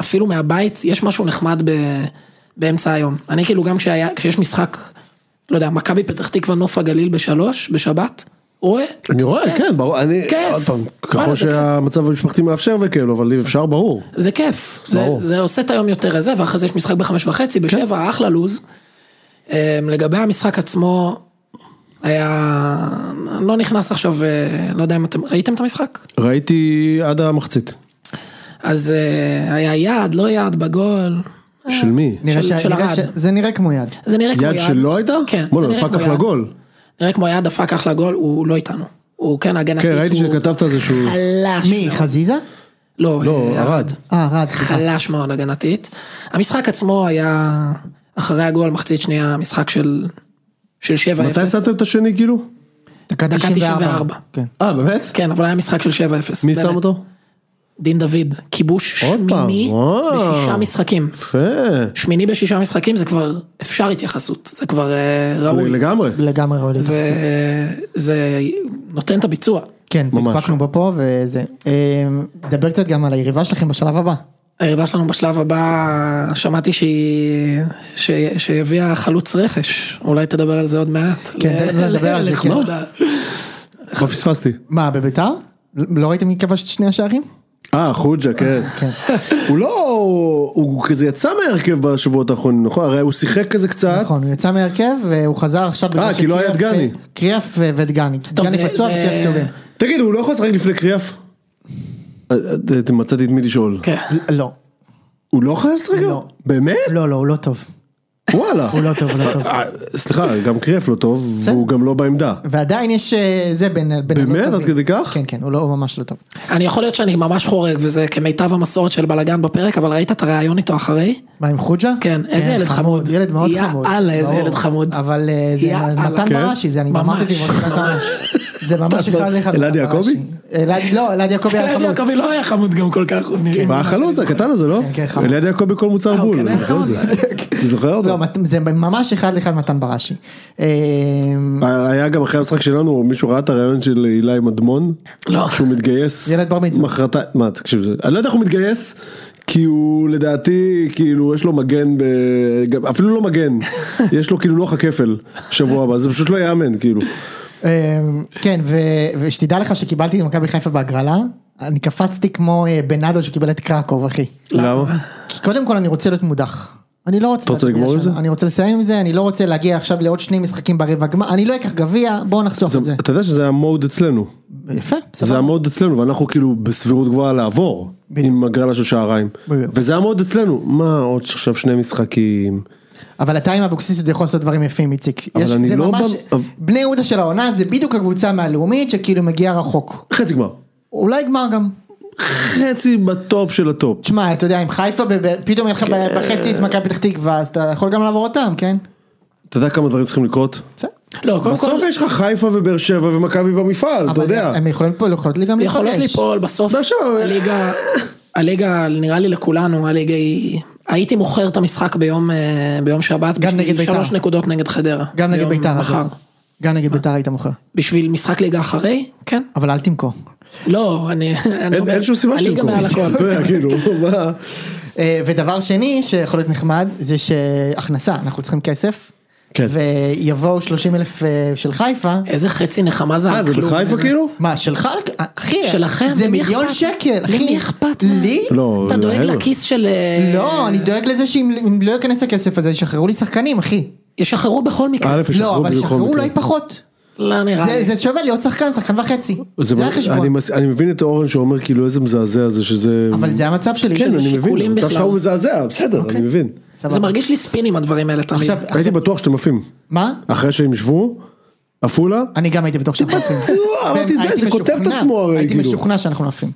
אפילו מהבית יש משהו נחמד ב, באמצע היום אני כאילו גם כשהיה כשיש משחק לא יודע מכבי פתח תקווה נוף הגליל בשלוש בשבת רואה
אני רואה, כן, ברור. אני,
כיף.
עוד פעם,
וואלה,
ככל
זה כיף.
שהמצב המשפחתי מאפשר וכאילו, אבל אי אפשר, ברור.
זה כיף זה,
ברור. כן.
זה עושה את היום יותר הזה ואחרי זה יש משחק בחמש וחצי בשבע אחלה לוז. אה, לגבי המשחק עצמו. היה, אני לא נכנס עכשיו, אה, לא יודע אם אתם, ראיתם את המשחק?
ראיתי עד המחצית.
אז אה, היה יעד, לא יעד בגול.
של מי?
נראה
של-
שה-
של
נראה
ארד.
ש- זה נראה כמו יד.
זה נראה כמו
יד
יעד.
שלא הייתה?
כן.
בוא'נה,
זה נראה
דפק
כמו
אחלה
יעד.
גול.
נראה כמו יעד, דפק אחלה גול, הוא לא איתנו. הוא כן הגנתית.
כן, ראיתי
הוא
שכתבת על זה שהוא...
חלש.
מי,
מאוד.
חזיזה?
לא,
לא,
אה,
ערד.
אה, רד, סליחה.
חלש מאוד הגנתית. המשחק עצמו היה, אחרי הגול, מחצית שנייה, משחק של של 7-0.
מתי הפסדתם את השני כאילו?
דקה
דקה
94.
94.
כן.
אה באמת?
כן, אבל היה משחק של 7-0.
מי
באמת.
שם אותו?
דין דוד. כיבוש
עוד פעם,
שמיני
וואו.
בשישה משחקים.
יפה.
שמיני בשישה משחקים זה כבר אפשר התייחסות, זה כבר אה, ראוי.
לגמרי.
לגמרי רואה לי.
זה, אה, זה נותן את הביצוע.
כן,
ממש.
נדבקנו בו פה וזה. אה, דבר קצת גם על היריבה שלכם בשלב הבא.
היריבה שלנו בשלב הבא, שמעתי שהיא, ש, שהביאה חלוץ רכש, אולי תדבר על זה עוד מעט.
כן,
ל-
נדבר על זה,
לכבוד
כן.
ה-
מה לא פספסתי?
מה, בביתר? לא ראיתם מי כבש את שני השערים?
אה חוג'ה כן. הוא לא... הוא כזה יצא מהרכב בשבועות האחרונים נכון? הרי הוא שיחק כזה קצת.
נכון, הוא יצא מהרכב והוא חזר עכשיו בגלל
כי לא היה את
שקריאף- אה,
דגני.
קריאף ו- ודגני.
טוב,
דגני
זה-
פצוע
זה-
וקריאף טובים.
תגיד הוא לא יכול לשחק לפני קריאף? אה, אה, אה, מצאתי את מי לשאול.
כן.
לא,
הוא לא יכול לשחק?
לא.
באמת?
לא, לא, הוא לא טוב.
וואלה.
הוא לא טוב, הוא לא טוב.
אה, סליחה, גם קריאף לא טוב, והוא גם לא בעמדה.
ועדיין יש אה, זה בין... בין הלא
באמת? עד
טובים.
כדי כך?
כן, כן, הוא לא הוא ממש לא טוב.
אני יכול להיות שאני ממש חורג וזה כמיטב המסורת של בלאגן בפרק, אבל ראית את הריאיון איתו אחרי?
מה עם חוג'ה?
כן, איזה ילד חמוד.
ילד מאוד
יא
חמוד.
אללה, איזה
ברור.
ילד חמוד.
אבל אה,
יא
זה
אללה.
מתן
כן.
בראשי, זה אני
ממש.
ממש
(laughs)
ממש. זה ממש אחד לאחד.
אלעד
מתן
יעקבי?
בראשי. אלעד- לא, אלעד יעקבי היה
ילד
חמוד.
יעקבי לא היה חמוד גם כל כך, הוא נראה.
והחלוץ הקטן הזה, לא?
כן, כן, חמוד. אוקיי, נכון.
ליד יעקבי כל מוצר
אה, הוא
בול,
כן
אני
היה
זוכר את זה.
חמוד.
אני זוכר
לא,
אותו.
מת- זה ממש אחד לאחד מתן בראשי. אה,
היה גם אחרי המשחק שלנו, מישהו ראה את הרעיון של אילי מדמון,
לא.
שהוא מתגייס,
ילד בר מצווה.
מחרתי, מה תקשיב, זה- אני לא יודע איך הוא מתגייס, כי הוא לדעתי, כאילו יש לו מגן, ב... גם- אפילו לא
(laughs)
מגן, יש לו כאילו לוח הכפל שבוע הבא, זה פשוט לא יאמן, כאילו,
אמ, כן, ו- ושתדע לך שקיבלתי את מכבי חיפה בהגרלה, אני קפצתי כמו אה, בנאדו שקיבל את קרקוב, אחי.
למה?
כי קודם כל אני רוצה להיות מודח. אני לא רוצה...
אתה רוצה
להגיע
לגמור עם
שם.
זה?
אני רוצה לסיים עם זה, אני לא רוצה להגיע עכשיו לעוד שני משחקים ברבע גמר, אני לא אקח גביע, בואו נחסוך את זה.
זה- אתה יודע שזה המוד אצלנו,
יפה,
זה
סבבה.
המוד אצלנו, ואנחנו כאילו בסבירות גבוהה לעבור,
לא- בדיוק.
עם הגרלה של שעריים,
בדיוק.
וזה המוד אצלנו, מה עוד עכשיו שני משחקים,
אבל אתה עם אבוקסיס עוד יכול לעשות דברים יפים, איציק.
אבל
יש-
אני
זה
לא
ממש...
במ-
בני יהודה של העונה זה בדיוק הקבוצה מהלאומית שכאילו מגיעה רחוק.
חצי גמר,
אולי גמר גם.
חצי בטופ של הטופ.
תשמע, אתה יודע, עם חיפה, ב- ב- פתאום
כן.
יהיה לך ב- בחצי את מכבי פתח תקווה, אז אתה יכול גם לעבור אותם, כן?
אתה יודע כמה דברים צריכים לקרות?
בסדר.
לא, קודם כל,
בסוף יש לך חיפה ובאר שבע ומכבי במפעל, אתה
אבל
יודע.
הם יכולים פה, יכולות לי גם
יכולות
להיפגש.
ליפול
לא,
בסוף.
עכשיו,
הליגה, הליגה נראה לי לכולנו, הליגה היא... הייתי מוכר את המשחק ביום, אה, ביום שבת,
גם
בשביל
נגד בית"ר.
שלוש נקודות נגד חדרה.
גם נגד
ביום
ביתר,
מחר.
אגב. גם נגד ביתר היית מוכר.
בשביל משחק ליגה אחרי? כן.
אבל אל תמכור.
לא, אני... אני
אין
אומר,
אין שום סיבה
הליגה
שתמכור.
מעל הכל.
(laughs) אתה יודע, כאילו, מה?
אה, ודבר שני שיכול להיות נחמד, זה שהכנסה, אנחנו צריכים כסף.
כן.
ויבואו 30 אלף אה, של חיפה.
איזה חצי נחמה זה
אה,
על
זה
כלום. לא
בחיפה כאילו?
מה, שלך? אחי,
שלכם?
זה
למי
מיליון
אכפת?
שקל, אחי.
למי אכפת? מה?
לי?
לא,
אתה דואג
להם.
לכיס של... אה,
לא, אני דואג לזה שאם אם לא ייכנס הכסף הזה, ישחררו לי שחקנים, אחי.
ישחררו בכל
א',
מקרה.
לא,
ישחררו
אבל
בדיוק
ישחררו
בכל
אולי
מקרה.
פחות.
לא נראה
זה-
לי.
זה שווה להיות שחקן, שחקן וחצי.
זה
זה
מה- אני
החשבון.
מס- אני מבין את אורן שאומר כאילו איזה מזעזע זה שזה...
אבל זה המצב שלי.
כן,
שזה
אני מבין,
שיקולים
המצב
בכלל.
שלך הוא מזעזע, בסדר, אני מבין.
סבבה.
זה מרגיש לי ספין עם הדברים האלה תמיד.
עכשיו,
הייתי בטוח שאתם עפים.
מה?
אחרי שהם ישבו, עפולה,
אני גם הייתי בטוח שאנחנו עפים.
בטוח, (laughs) אמרתי, זה-
הייתי
זה כותב את
משוכנע,
עצמו הרי,
הייתי
כאילו.
משוכנע שאנחנו עפים.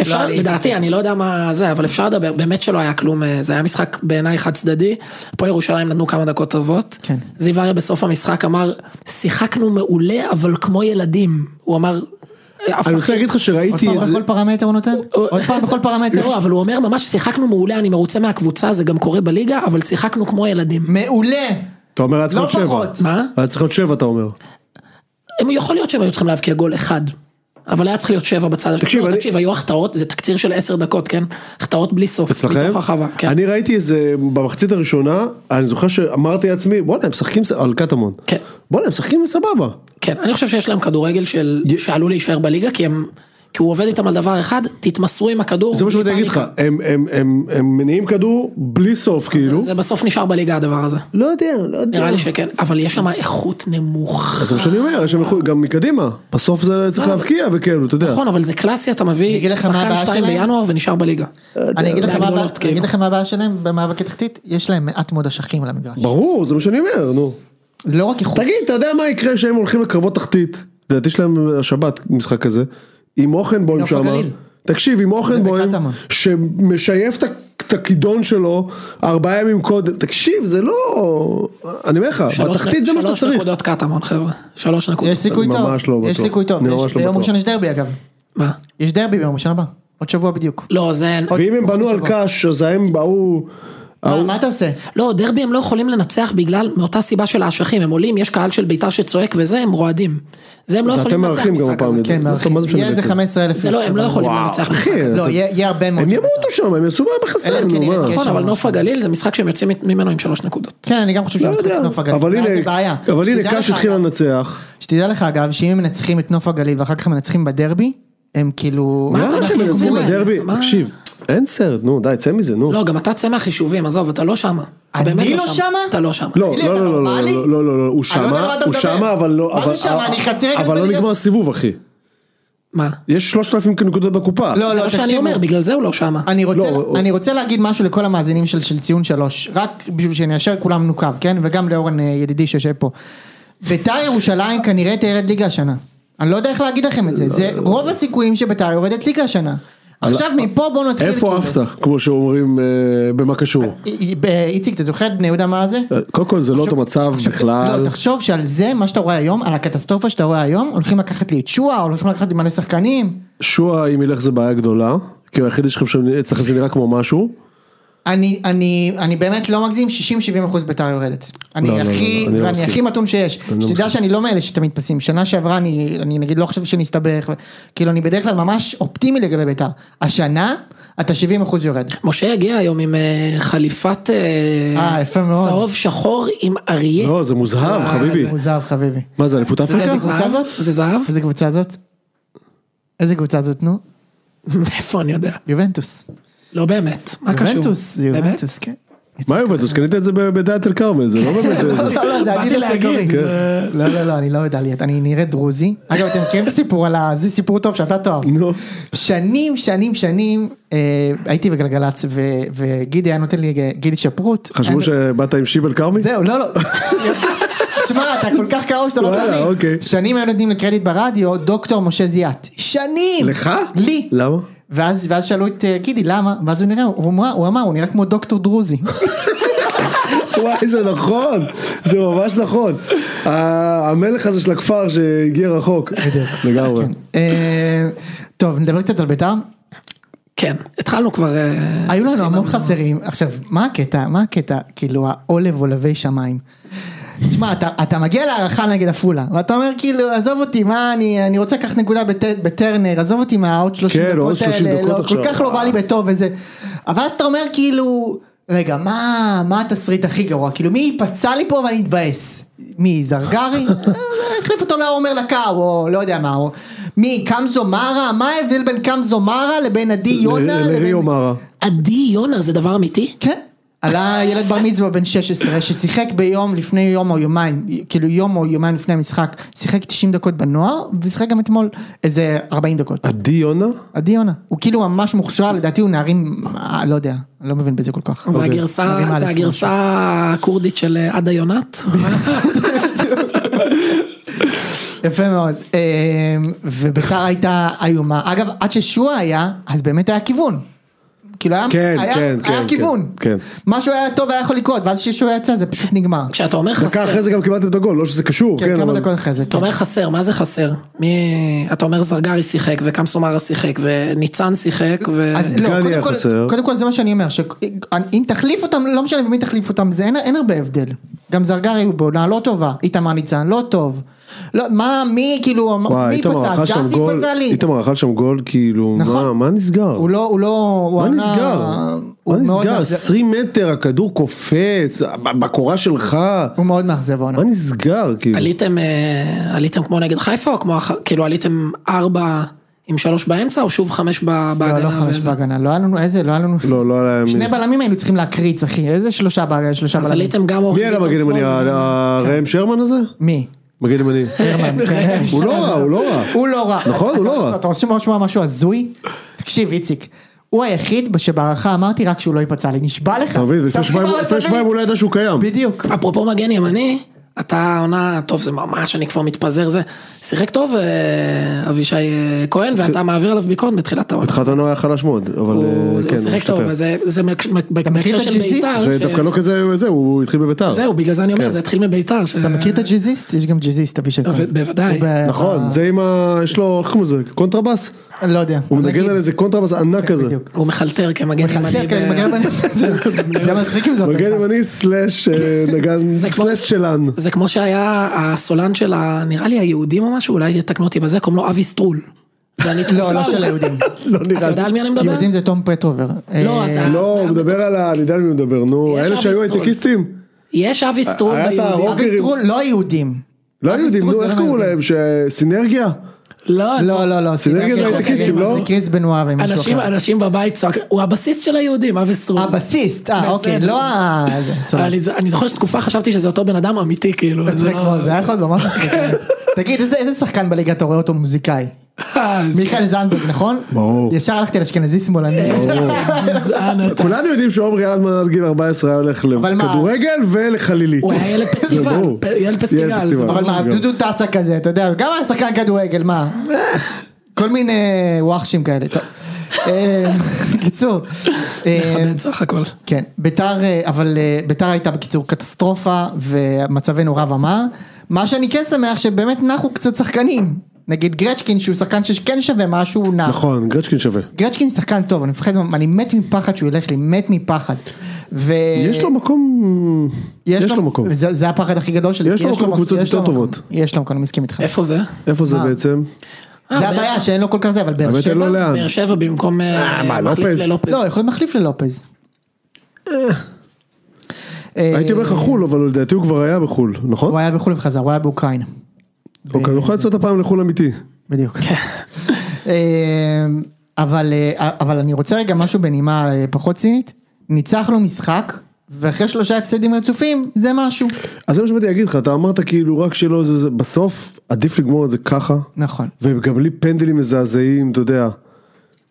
אפשר,
לא,
לדעתי, אני לא יודע מה זה, אבל אפשר לדבר, באמת שלא היה כלום, אה, זה היה משחק בעיניי חד צדדי, פה ירושלים נתנו כמה דקות טובות,
כן.
זיו אריה בסוף המשחק אמר, שיחקנו מעולה, אבל כמו ילדים, הוא אמר, "אה, "אף
אני
אחד-"
רוצה להגיד לך
עוד
שראיתי
פעם
איזה...
בכל פרמטר הוא נותן? עוד פעם בכל פרמטר?
לא, אבל הוא אומר ממש, שיחקנו מעולה, אני מרוצה מהקבוצה, זה גם קורה בליגה, אבל שיחקנו כמו ילדים.
מעולה.
אתה אומר היה צריך
לא
להיות שבע.
פחות.
מה?
היה צריך להיות שבע אתה אומר.
הם יכול להיות שהם היו צריכים להבקיע גול אחד. אבל היה צריך להיות שבע בצד השני.
תקשיב,
לא,
אני-
תקשיב, היו החטאות, זה תקציר של עשר דקות, כן? החטאות בלי סוף.
אצלכם?
מתוך הרחבה, כן.
אני ראיתי איזה במחצית הראשונה, אני זוכר שאמרתי לעצמי, בואנה הם משחקים ס- על קטמון.
כן.
בואנה הם משחקים סבבה.
כן, אני חושב שיש להם כדורגל של... שעלול להישאר בליגה, כי הם... כי הוא עובד איתם על דבר אחד, תתמסרו עם הכדור.
זה מה
בלי
שבאתי להגיד לך,
פאניקה.
הם- הם- הם הם מניעים כדור בלי סוף כאילו.
זה בסוף נשאר בליגה הדבר הזה.
לא יודע, לא יודע.
נראה לי שכן, אבל יש שם איכות נמוכה.
זה מה שאני אומר, יש שם איכות- גם מקדימה. בסוף זה צריך להבקיע וכאילו, אתה יודע.
לא, נכון, אבל זה קלאסי, אתה
אגיד
מביא
לך מה
שחקן
הבעיה
שתיים
שלהם?
בינואר ונשאר בליגה.
אני אגיד לך מה הבעיה-
בהגדולות,
אני אגיד
כאילו.
לך מה הבעיה שלהם במאבקי תחתית, יש להם מעט מאוד אשכים על המגרש.
ברור, זה מה שאני אומר, נו.
זה לא רק איכות.
תגיד, אתה יודע מה יקרה שהם הולכים לקרבות תחתית? לדעתי יש להם השבת משחק כזה. עם אוכנבוים
נוף
שם.
הגליל.
תקשיב, עם אוכנבוים,
בקטמון.
שמשייף את ה- את הכידון שלו ארבעה ימים קודם. תקשיב, זה לא... אני אומר לך,
שלוש-
בתחתית זה מה שאתה
שלוש
צריך.
נקודות קטמון, חבר'ה. שלוש נקודות.
יש סיכוי
אני
טוב.
ממש לא
יש
בטוח.
סיכוי טוב.
אני
יש-
ממש לא
ביום
בטוח.
ראשון יש דרבי אגב.
מה?
יש דרבי ביום ראשון הבא. עוד שבוע בדיוק.
לא, זה...
ואם הם בנו על קאש, אז הם באו... אה,
מה מה אתה עושה?
לא, דרבי הם לא יכולים לנצח בגלל, מאותה סיבה של האשכים, הם עולים, יש קהל של בית"ר שצועק וזה, הם רועדים. זה הם לא
אז אתם
יכולים לנצח
מארחים גם
משחק
הפעם.
כזה.
לדעתי.
כן,
מה
מארחים.
זה משנה
יהיה איזה
בעצם?
15 אלף.
זה לא, הם לא יכולים
וואו,
לנצח
אחי,
משחק כזה.
לא, יהיה יהיה הרבה מאוד.
הם ימותו שם, הם יעשו בעיה בחסר,
אלף
נו
כנראה,
מה.
כן.
נכון, אבל
שם.
נוף הגליל זה משחק שהם יוצאים ממנו עם שלוש נקודות.
כן, אני גם חושב שהם
לא
מתחילים
יודע,
את נוף הגליל.
אבל
ואז
הנה,
זה בעיה.
אבל הנה
שתדע
קאש
לך,
התחיל
אגב,
לנצח.
שתדע לך אגב, שאם הם מנצחים את נוף הגליל ואחר כך הם מנצחים בדרבי, הם כאילו...
מה?
למה
אנחנו
שהם מנצחים
יוזמים להם?
בדרבי?
מה?
תקשיב, אין סרט, נו די, צא מזה, נו.
לא, גם אתה צא מהחישובים, עזוב, אתה לא שמה. אתה
אני
באמת
לא
שם.
שמה?
אתה לא שמה.
לא,
תגיד לי,
לא,
אתה
לא, לא, לא,
נורמלי?
לא, לא, לא, לא, הוא
אני לא יודע על
שמה,
מה אתה
הוא
מדבר.
שמה, אבל לא,
מה זה
אבל-
שמה? אני חצי רגל
אבל לא
בליגה.
נגמר הסיבוב, אחי.
מה?
יש 3,000 נקודות בקופה.
לא,
זה
לא,
מה שאני
תקשיבו.
אומר, בגלל זה הוא לא שמה.
אני רוצה,
לא,
אני רוצה להגיד משהו לכל המאזינים של, של ציון שלוש, רק בשביל שניישר כולם נוקב, כן? וגם לאורן אה, ידידי שיושב פה. ביתר ירושלים כנראה תרד ליגה השנה. אני לא יודע איך להגיד לכם את זה, זה
לא.
רוב הסיכויים שביתר יורדת ליגה השנה. עכשיו מפה בוא נתחיל.
איפה
כאילו.
עפת, כמו שאומרים, אה, במה קשור.
אי- אי- ב- איציק, אתה זוכר בני יהודה מה זה?
אה, קודם כל זה לא
עכשיו-
אותו מצב
עכשיו,
בכלל.
לא, תחשוב שעל זה, מה שאתה רואה היום, על הקטסטרופה שאתה רואה היום, הולכים לקחת לי את שועה, הולכים לקחת לי מלא שחקנים.
שועה אם ילך זה בעיה גדולה, כי הוא היחיד שלכם שנראה- אצלכם שנראה כמו משהו.
אני, אני, אני באמת לא מגזים, 60-70 אחוז ביתר יורדת. אני
לא, לא,
הכי,
לא, אני לא
ואני
מסכים.
הכי מתון שיש. שתדע שאני לא מאלה שתמיד פסים. שנה שעברה אני, אני נגיד לא חושב שנסתבך, ו- כאילו אני בדרך כלל ממש אופטימי לגבי ביתר. השנה, אתה 70 אחוז יורד.
משה הגיע היום עם אה, חליפת אה,
אה, יפה מאוד.
צהוב שחור עם אריה.
לא, זה מוזהב,
אה,
חביבי.
כן. מוזר חביבי.
מה זה, אליפות אפריקה?
איזה קבוצה
זהב?
זאת?
זה זהב?
איזה קבוצה זאת? איזה קבוצה זאת נו?
(laughs) מאיפה אני יודע?
יובנטוס.
לא באמת, מה קשור?
יובנטוס, זה
באמת?
יובנטוס, כן.
מה יובנטוס? קנית את זה ב- בדאלית אל כרמל, זה לא
(laughs)
באמת... זה-
לא, לא, זה
באתי
אדידס
להגיד,
מקורי.
זה-
לא, לא, לא, אני לא יודע להיות, אני נראה דרוזי. אגב, אתם מכירים את הסיפור על ה... זה סיפור טוב שאתה תאהב.
נו.
שנים, שנים, שנים, אה, הייתי בגלגלצ, ו- וגידי היה נותן לי, אה, גידי שפרוט.
חשבו
היה-
שבאת עם שיבל כרמי?
זהו, לא, לא. שמע, אתה כל כך קרוב שאתה לא
וואלה,
תאמין.
אוקיי.
שנים היו נותנים לקרדיט ברדיו, דוקטור משה זיאת. שנים!
לך?
לי.
למה?
ואז, ואז שאלו את אה, גידי למה, ואז הוא נראה, הוא אמר, הוא, אמר, הוא נראה כמו דוקטור דרוזי.
וואי זה נכון, זה ממש נכון. ה- המלך הזה של הכפר שהגיע רחוק. בדיוק. לגמרי.
כן. אה, טוב, נדבר קצת על בית"ר.
כן, התחלנו כבר... אה,
היו לנו המון חסרים, עכשיו, מה הקטע, מה הקטע, כאילו, העולב עולבי שמיים. תשמע, אתה, אתה מגיע להערכה נגד עפולה, ואתה אומר כאילו, עזוב אותי, מה, אני, אני רוצה לקחת נקודה בט, בטרנר, עזוב אותי מהעוד 30
כן, עוד
דקות
30
האלה,
דקות
לא, כל
עכשיו.
כך לא בא לי בטוב וזה. אבל אז אתה אומר כאילו, רגע, מה, מה התסריט הכי גרוע? כאילו, מי ייפצע לי פה ואני אתבאס? מי, זרגרי? אה, החליף אותו לעומר לקאו, או לא יודע מה, או... מי, קמזו מארה? מה ההבדל בין קמזו מארה לבין עדי יונה?
ל- לריו
לבין-
מרה.
עדי יונה זה דבר אמיתי?
כן. עלה ילד בר מצווה בן 16 ששיחק ביום לפני יום או יומיים, כאילו יום או יומיים לפני המשחק, שיחק 90 דקות בנוער ושיחק גם אתמול איזה 40 דקות.
עדי יונה?
עדי יונה, הוא כאילו ממש מוכשר, לדעתי הוא נערים, אה, לא יודע, אני לא מבין בזה כל כך.
זה
אוקיי.
הגרסה,
נרים א',
זה הגרסה הכורדית של אה, עדה יונת?
יפה מאוד. אה, וביתר הייתה איומה, אגב עד ששועה היה, אז באמת היה כיוון. כאילו היה,
כן,
היה,
כן,
היה
כן,
כיוון.
כן, כן.
משהו היה טוב היה יכול לקרות, ואז כששועה יצא זה פשוט נגמר.
כשאתה אומר
דקה
חסר,
אחרי זה גם קיבלתם את הגול, לא שזה קשור,
כן,
כן,
כמה
אבל...
דקות אחרי זה.
אתה
כן.
אומר חסר, מה זה חסר? מי... אתה אומר זרגרי שיחק וקמסומרה שיחק וניצן שיחק ו...
אז לא,
גלי
קודם
היה
כל,
כן, חסר.
קודם כל זה מה שאני אומר, שאם תחליף אותם, לא משנה במי תחליף אותם, זה אין, אין הרבה הבדל. גם זרגרי הוא בעונה לא טובה, איתמר ניצן לא טוב. לא, מה, מי, כאילו,
וואי,
מי
איתמר
פצע?
אכל שם
ג'אסי
גול,
פצע לי.
איתמר אכל שם גול, כאילו,
נכון.
מה- מה נסגר?
הוא לא, הוא לא, הוא
מה
ענה-
נסגר?
הוא
מה
מאוד
נסגר?
מאכזב-
20 מטר, הכדור קופץ, ב- בקורה שלך,
הוא מאוד מאכזב העונה.
מה נסגר, כאילו?
עליתם, אה, עליתם כמו נגד חיפה או כמו, אח- כאילו עליתם ארבע עם שלוש באמצע או שוב חמש ב- בהגנה?
לא, לא חמש
וזה?
בהגנה, לא היה לנו איזה, לא היה לנו,
לא, לא היה
שני
ימין.
בלמים היינו צריכים להקריץ אחי, איזה שלושה בהגנה, שלושה
אז
בלמים.
עליתם גם אורן
מי היה
ביטון
המגן
שמאל
ימני?
וגם-
ה-
כן.
ראם שרמן הזה?
(laughs)
מי?
מגן
(laughs)
ימני.
כן.
הוא לא רע, הוא לא רע.
הוא לא רע.
נכון,
אתה-
הוא לא
אתה-
רע.
אתה רוצה לשמוע משהו הזוי? תקשיב, איציק. הוא היחיד שבהערכה אמרתי רק שהוא לא ייפצע לי, נשבע לך.
אתה מבין? לפני
תפסיק
שבועיים-
לעצבן.
לפני שבועיים הוא לא ידע שהוא קיים.
בדיוק.
אפרופו מגן ימני, אתה עונה, טוב זה ממש, אני כבר מתפזר זה, שיחק טוב אה, אבישי אה, כהן ואתה מעביר עליו ביקורת בתחילת העונה.
התחלת העונה היה חלש מאוד, אבל
הוא
אה,
הוא
כן, הוא
שיחק טוב,
משתפר.
אז זה- זה בהקש- בהקשר
מכיר את
של
הג'יזיסט?
בית"ר,
זה
ש-
דווקא לא כזה, זה, הוא התחיל בביתר.
זהו בגלל זה אני אומר, זה התחיל מבית"ר, ש-
אתה מכיר את הג'יזיסט? יש גם ג'יזיסט אבישי
ב-
כהן.
לא, בוודאי.
הוא ב-
נכון,
אה.
ב-
זה עם ה... יש לו, איך קוראים לזה? קונטרבאס?
אני לא יודע.
הוא
נגיד.
מנגן על איזה קונטרבאס ענק
כן,
כזה.
בדיוק.
הוא מחלטר כמגן
מחלטר,
ימני.
כן,
ב-
מגן
(laughs)
ימני. זה מצחיק אם זה אותו
מגן
אחד.
ימני סלאש אה, נגן
זה כמו-
סלאש שלן.
זה כמו שהיה הסולן של ה... נראה לי היהודים או משהו, אולי יתקנו אותי בזה, קוראים לו אבי סטרול. ואני-
לא, לא של היהודים.
לא
אתה
נראה. לי.
יודע על מי אני מדבר?
יהודים זה תום פטרובר. אה,
לא, אז ה-
לא, הוא מדבר על ה... אני יודע על מי הוא מדבר, נו.
יש
אלה שהיו
אביסטרול.
הייטקיסטים?
יש אבי סטרול
היה את
ביהודים.
הרוק-
אבי סטרול לא יהודים.
לא
אבי
יודעים,
סטרול
נו,
זה
איך
לא
קראו
מהיהודים.
להם? ש- סינרגיה?
לא,
לא, לא, לא.
סינרגיה
סינרגיה
זה
זה
הייטקיסטים,
חוקרים,
לא?
זה קריס בנואב ומישהו
אנשים,
אחר.
אנשים בבית צועקים, הוא הבסיס של היהודים, אבי סטרול.
הבסיסט, אה
בסדר.
אוקיי, לא ה... זה, סורי.
אני, אני זוכר שתקופה חשבתי שזה אותו בן אדם אמיתי, כאילו. זה
מצחיק
לא-
מאוד, זה היה יכול להיות ממש מצחיק. תגיד, איזה- איזה שחקן בליגה אתה רואה אותו מוזיקאי?
אה,
מיכאל זנדברג, נכון?
ברור.
ישר הלכתי לאשכנזי שמאלני.
גזען אתה.
כולנו יודעים שעומרי אלמן עד גיל 14 היה הולך
אבל מה?
לכדורגל ולחלילית.
הוא היה ילד פסטיבל,
(laughs) זה ברור.
פ- ילד פסטיגל,
ילד
זה ברור.
אבל מה,
גם.
דודו טסה כזה, אתה יודע, גם היה שחקן כדורגל, מה? כל מיני וואחשים כאלה, טוב. אה, קיצור. אה,
מכבד סך הכל.
כן, ביתר, אה, אבל אה, ביתר הייתה בקיצור קטסטרופה ומצבנו רב אמר. מה שאני כן שמח שבאמת נחו קצת שחקנים. נגיד גרצ'קין שהוא שחקן שכן שווה משהו, הוא נח.
נכון, גרצ'קין שווה.
גרצ'קין שחקן טוב, אני מפחד, אני מת מפחד שהוא ילך לי, מת מפחד. ו...
יש לו מקום, יש לו מקום.
זה, זה הפחד הכי גדול שלי.
יש לו מקום
מק-
בקבוצות
יש לו
יותר
מקום.
טובות.
יש לו מקום, אני מסכים איתך.
איפה זה?
איפה זה
מה?
בעצם?
אה,
זה
באר-
הבעיה שאין לו כל כך זה, אבל באר
האמת אין לו
שבע...
לאן.
באר שבע במקום אה,
מה,
מחליף
לופז?
ללופז.
לא, יכולים מחליף ללופז. אה,
הייתי אומר לך חו"ל, אבל לדעתי הוא כבר היה בחו"ל, נכון?
הוא היה בחו"ל וחזר, הוא היה באוקראינה.
אוקיי, אני יכול לצאת הפעם לחו"ל אמיתי.
בדיוק. אה, אבל, אה, אבל אני רוצה רגע משהו בנימה אה, פחות צינית. ניצחנו משחק, ואחרי שלושה הפסדים רצופים, זה משהו.
אז זה מה שבאתי להגיד לך, אתה אמרת כאילו רק שלא זה זה, בסוף עדיף לגמור את זה ככה,
נכון.
וגם בלי פנדלים מזעזעים, אתה יודע,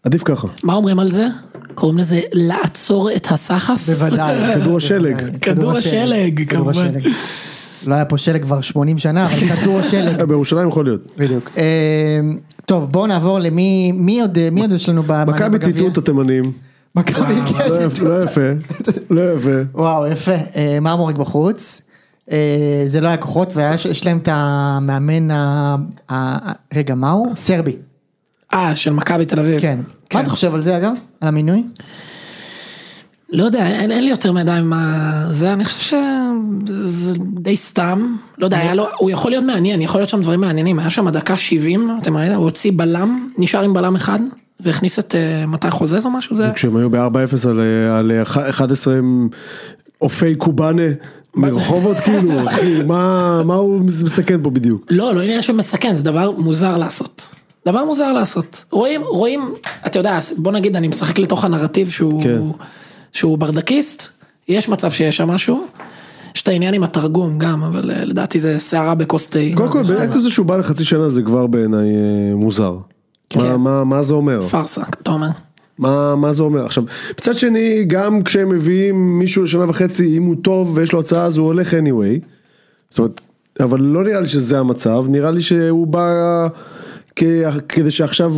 עדיף ככה.
כן.
מה אומרים על זה? קוראים לזה לעצור את הסחף?
בוודאי.
(laughs) כדור השלג.
כדור השלג,
כדור
כמובן.
השלג. לא היה פה שלג כבר 80 שנה,
(laughs)
אבל כדור השלג.
אה, בירושלים יכול להיות.
בדיוק. אה, טוב, בואו נעבור למי מי עוד, מי עוד יש לנו במענה
מכבי
בגביע?
טיטוט התימנים,
מכבי כן.
לא יפ- לא יפה, לא יפה.
וואו, יפה. אה, מרמורק בחוץ. אה, זה לא היה כוחות, ויש להם את המאמן ה... ה- רגע, מה הוא? סרבי.
אה, של מכבי תל אביב.
כן. מה אתה חושב על זה אגב? על המינוי?
לא יודע, אין, אין לי יותר מדי מה זה, אני חושב שזה די סתם, לא יודע, היה לו, הוא יכול להיות מעניין, יכול להיות שם דברים מעניינים, היה שם הדקה 70, אתם ראיתם, הוא הוציא בלם, נשאר עם בלם אחד, והכניס את אה, מתי חוזז או משהו, זה,
כשהם היו ב-4-0 על, אה, על אה, אח- 11 הם עופי קובאנה מרחובות כאילו, אחי, מה מה הוא מסכן פה בדיוק?
לא, לא עניין שמסכן, זה דבר מוזר לעשות. דבר מוזר לעשות. רואים, רואים, אתה יודע, אז בוא נגיד, אני משחק לתוך הנרטיב שהוא,
כן.
שהוא ברדקיסט, יש מצב שיש שם משהו, יש את העניין עם התרגום גם, אבל אה, לדעתי זה סערה בכוס תה.
קודם כל, בעצם זה שהוא בא לחצי שנה זה כבר בעיניי אה, מוזר. מה- מה- מה זה אומר?
פארסה, אתה אומר.
מה, מה זה אומר? עכשיו, מצד שני, גם כשהם מביאים מישהו לשנה וחצי, אם הוא טוב ויש לו הצעה, אז הוא הולך anyway. זאת אומרת, אבל לא נראה לי שזה המצב, נראה לי שהוא בא כ... כדי שעכשיו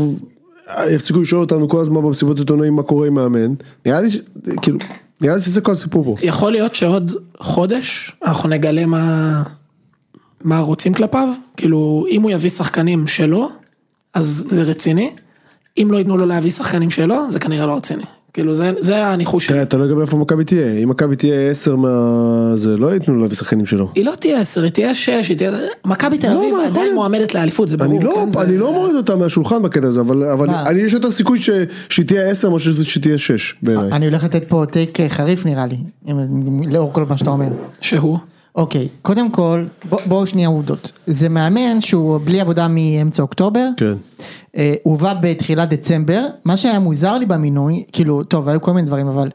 אה, יפסיקו לשאול אותנו כל הזמן במסיבות עיתונאים מה קורה עם מאמן. נראה לי ש... כאילו, נראה לי שזה כל הסיפור פה.
יכול להיות שעוד חודש אנחנו נגלה מה, מה רוצים כלפיו, כאילו אם הוא יביא שחקנים שלו, אז זה רציני, אם לא ייתנו לו להביא שחקנים שלו, זה כנראה לא רציני, כאילו זה, זה הניחוש שלי.
תראה, אתה לא יודע איפה מכבי תהיה, אם מכבי תהיה 10 מה... זה לא ייתנו לו להביא שחקנים שלו.
היא לא תהיה עשר, היא תהיה שש, היא תהיה... מכבי תל
לא,
אביב
מה, יכול
עדיין
להיות.
מועמדת לאליפות, זה ברור.
אני לא,
כן? זה-
אני לא מוריד אותה מהשולחן בקטע הזה, אבל, אבל
מה?
אני יש יותר סיכוי ש, שהיא תהיה 10 מאשר שתהיה 6 בעיניי.
אה, אני הולך לתת פה טייק אה, חריף נראה לי, אם- לאור כל מה שאתה אומר.
שהוא.
אוקיי, קודם כל, בוא- בואו שנייה עובדות. זה מאמן שהוא בלי עבודה מאמצע אוקטובר.
כן.
אה, הוא הובא בתחילת דצמבר, מה שהיה מוזר לי במינוי, כאילו, טוב, היו כל מיני דברים, אבל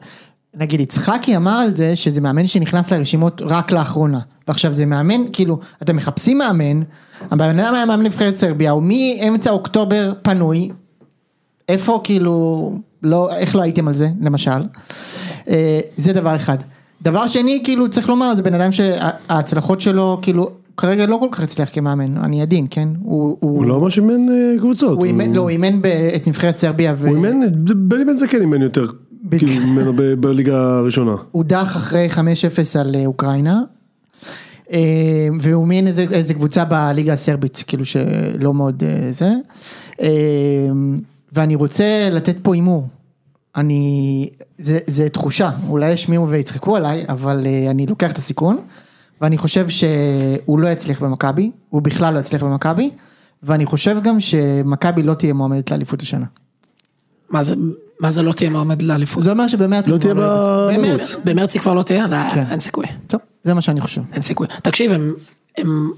נגיד יצחקי אמר על זה שזה מאמן שנכנס לרשימות רק לאחרונה. ועכשיו זה מאמן, כאילו, אתם מחפשים מאמן, הבן אדם היה מאמן נבחרת סרביה, הוא מאמצע אוקטובר פנוי, איפה כאילו, לא, איך לא הייתם על זה, למשל. אה, זה דבר אחד. דבר שני, כאילו, צריך לומר, זה בן אדם שההצלחות שלו, כאילו, כרגע לא כל כך הצליח כמאמן, אני עדין, כן? הוא,
הוא לא ממש אימן אה, קבוצות.
הוא אימן, לא, הוא אימן ב- את נבחרת סרביה,
הוא אימן, בני בן זקן אימן יותר
בדיוק.
כאילו, ממנו ב- בליגה הראשונה.
והודח אחרי 5-0 על אה, אוקראינה. אה, והוא אימן איזה, איזה קבוצה בליגה הסרבית, כאילו שלא מאוד אה, זה. אה, ואני רוצה לתת פה הימור. אני, זה, זה תחושה, אולי ישמיעו ויצחקו עליי, אבל אה, אני לוקח את הסיכון. ואני חושב שהוא לא יצליח במכבי, הוא בכלל לא יצליח במכבי. ואני חושב גם שמכבי לא תהיה מועמדת לאליפות השנה.
מה זה, מה זה לא תהיה מועמד לאליפות?
זה אומר שבמרץ...
לא
כבר
תהיה
יהיה בסוף.
במירוץ.
במרץ.
במרץ היא כבר לא תהיה? לא,
כן.
אין סיכוי.
טוב, זה מה שאני חושב.
אין סיכוי. תקשיב, הם... הם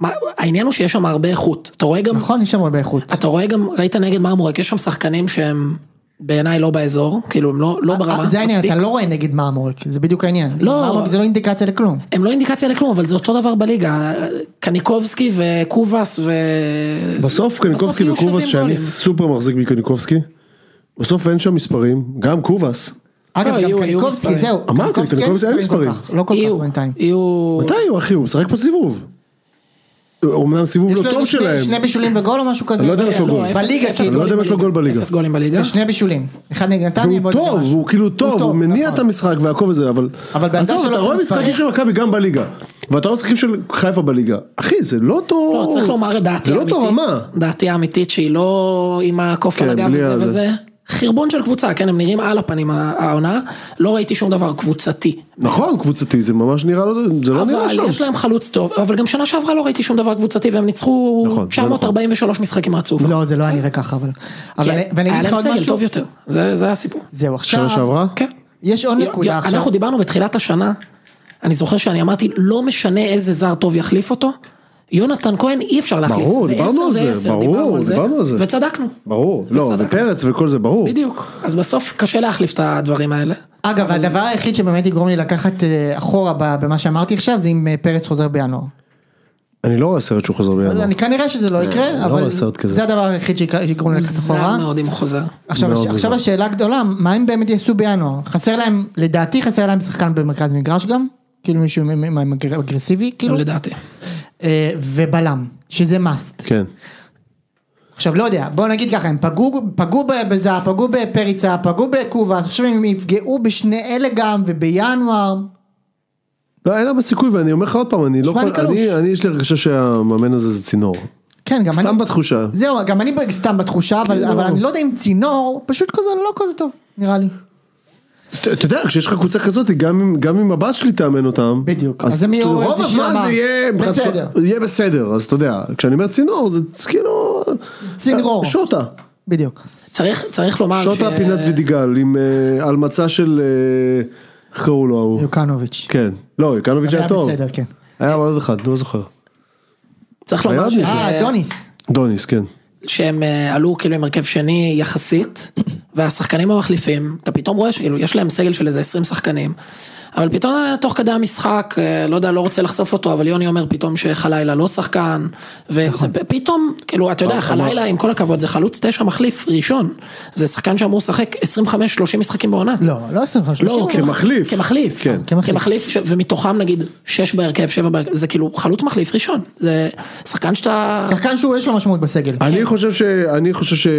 מה, העניין הוא שיש שם הרבה איכות. אתה רואה גם...
נכון, יש שם הרבה איכות.
אתה רואה גם, ראית נגד מרמורק, יש שם שחקנים שהם בעיניי לא באזור, כאילו הם לא, לא ברמה,
אה, זה העניין,
מספיק.
אתה לא רואה נגד מאמורק, זה בדיוק העניין.
לא.
מאמורק זה לא אינדיקציה לכלום.
הם לא אינדיקציה לכלום, אבל זה אותו דבר בליגה, קניקובסקי וקובאס ו...
בסוף קניקובסקי
יהיו שווים
וקובס שאני
גולים.
סופר מחזיק מקניקובסקי. בסוף אין שם מספרים, גם קובס.
אגב,
לא,
גם
יהיו- יהיו
קניקובסקי,
מספרים.
זהו.
אמרתי, קניקובסקי אין מספרים.
כל כך, לא כל
יהיו,
כך בינתיים.
יהיו...
מתי הוא אחי הוא משחק פה סיבוב. אומנם סיבוב
יש
לא
לו
טוב
איזה שני-
שלהם.
שני בישולים וגול או משהו כזה?
לא יודע אם יש לו
לא,
גול.
אפס-
בליגה,
אפס
כאילו.
אני לא יודע אם יש לו
בליגה.
גול בליגה.
אפס גולים בליגה.
זה שני בישולים. אחד נגד נתניה,
והוא
ועוד אחד
טוב,
משהו.
הוא כאילו טוב, הוא מניע
נכון.
את המשחק והכל וזה, אבל...
אבל בעמדה
עזוב,
שלו
אתה
צריך
רואה
לשחק.
משחקים של מכבי גם בליגה, ואתה רואה משחקים של חיפה בליגה. אחי, זה לא אותו...
לא, צריך לומר את דעתי
זה לא
האמיתית.
אותו רמה.
דעתי האמיתית שהיא לא עם הקוף על
כן,
הגב
בלי
וזה
הזה.
וזה. חרבון של קבוצה, כן, הם נראים על הפנים העונה. לא ראיתי שום דבר קבוצתי.
נכון, קבוצתי, זה ממש נראה לא... זה לא נראה
אבל
שם.
יש להם חלוץ טוב, אבל גם שנה שעברה לא ראיתי שום דבר קבוצתי והם ניצחו
נכון, זה
943 משחקים רצוף.
לא, זה לא היה נראה ככה, אבל... אבל
כן,
ואני
היה
אגיד לך עוד
להם סגל
משהו.
טוב יותר, זה זה הסיפור.
זהו,
שנה
עכשיו...
שעברה?
כן.
יש עוד
יו-
נקודה עכשיו.
אנחנו דיברנו בתחילת השנה, אני זוכר שאני אמרתי, לא משנה איזה זר טוב יחליף אותו, יונתן כהן אי אפשר להחליף.
ברור,
זה
דיברנו
עשר
על זה,
ועשר,
ברור, דיברנו על זה.
וצדקנו.
ברור. לא,
וצדק.
ופרץ וכל זה, ברור.
בדיוק. אז בסוף קשה להחליף את הדברים האלה.
אגב, הדבר היחיד שבאמת יגרום לי לקחת אה, אחורה ב- במה שאמרתי עכשיו, זה אם אה, פרץ חוזר בינואר.
אני לא רואה סרט שהוא חוזר
אז
בינואר.
אני כנראה שזה לא יקרה,
לא
אבל
רואה סרט כזה.
זה הדבר היחיד שיק- שיגרום לי לקחת
מוזר
אחורה.
מאוד אם הוא חוזר.
עכשיו,
מאוד
הש- עכשיו
מוזר.
השאלה הגדולה, מה הם באמת יעשו בינואר? חסר להם, לדעתי חסר להם שחקן במרכז מגרש גם? כאילו מישהו מ- מ- מ- אגר- אגרסיבי, כאילו?
לא לדעתי.
אה, ובלם, שזה must.
כן.
עכשיו לא יודע, בוא נגיד ככה, הם פגעו, פגעו בזהב, פגעו בפריצה, פגעו בקובאס, עכשיו הם יפגעו בשני אלה גם, ובינואר,
לא, אין הרבה סיכוי, ואני אומר לך עוד פעם, אני לא...
נשמע לי
יכול-
קלוש.
אני- אני, יש לי הרגשה שהמאמן הזה זה צינור.
כן, גם
סתם
אני,
בתחושה.
זהו, גם אני ב- סתם בתחושה, אבל,
כאילו-
אבל אני לא יודע אם צינור, פשוט כזה, לא כזה טוב, נראה לי.
אתה- אתה יודע, כשיש לך קבוצה כזאת, גם אם- גם אם הבת שלי תאמן אותם,
בדיוק. אז
אז
הם יהיו
רוב
איזושהי
הזמן
רמה.
זה יהיה
בסדר.
יהיה בסדר, אז אתה יודע, כשאני אומר צינור, זה כאילו... אה,
צינרור.
שוטה,
בדיוק.
צריך, צריך לומר
שוטה פינת ודיגל, עם אה, על מצע של... אה, איך קראו לו ההוא?
יוקנוביץ'.
כן. לא, יקנוביץ' היה
היה
טוב.
בסדר, כן.
היה עוד אחד, לא זוכר.
צריך
היה
לומר
עוד
ש...
מישהו.
אה, אדוניס.
דוניס, כן.
שהם אה, עלו כאילו עם הרכב שני יחסית, והשחקנים המחליפים, אתה פתאום רואה שכאילו יש להם סגל של איזה 20 שחקנים, אבל פתאום אה, תוך כדי המשחק, אה, לא יודע, לא רוצה לחשוף אותו, אבל יוני אומר פתאום שחלילה לא שחקן, ופתאום, כאילו, אתה יודע, חלילה, עם כל הכבוד, זה חלוץ תשע מחליף ראשון, זה שחקן שאמור לשחק 25-30 משחקים בעונה.
לא, לא 25.
לא,
שלושים.
כמחליף.
כמחליף,
כן.
כמחליף.
כמחליף, ש- ומתוכם נגיד שש בהרכב, שבע בהרכב, זה כאילו חלוץ מחליף ראשון, זה שחקן שאתה...
שחקן שהוא יש לו משמעות בסגל.
אני חושב ש... אני חושב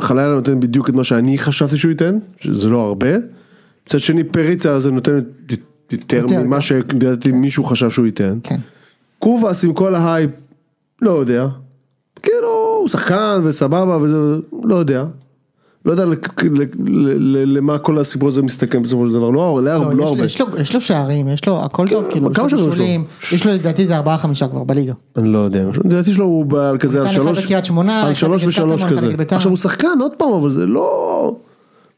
שחלילה נותן בדיוק את מה שאני חשבתי שהוא ייתן, שזה לא הרבה. מצד שני פריצה זה נותן יותר
יותר,
ממה
כן.
שלדעתי מישהו חשב שהוא ייתן.
כן.
קובאס עם כל ההייפ, לא יודע. כאילו, הוא שחקן וסבבה וזה, לא יודע. לא יודע לק- ל- ל- ל- למה כל הסיפור הזה מסתכם בסופו של דבר, לא לא
לא,
הרבה. לא
יש לו-
הרבה.
יש לו- יש לו שערים, יש לו הכל טוב, כאילו, יש
כמה
לו
שערים יש לו?
בישולים, יש לו לדעתי זה ארבעה חמישה כבר בליגה.
אני לא יודע, לדעתי שלו הוא בעל כזה על
נתן אחד
שלוש,
בקריית שמונה,
על
אחד
שלוש
נגד
ושלוש
קטמון, אחד
כזה.
נגד בית"ר.
עכשיו הוא שחקן עוד פעם, אבל זה לא,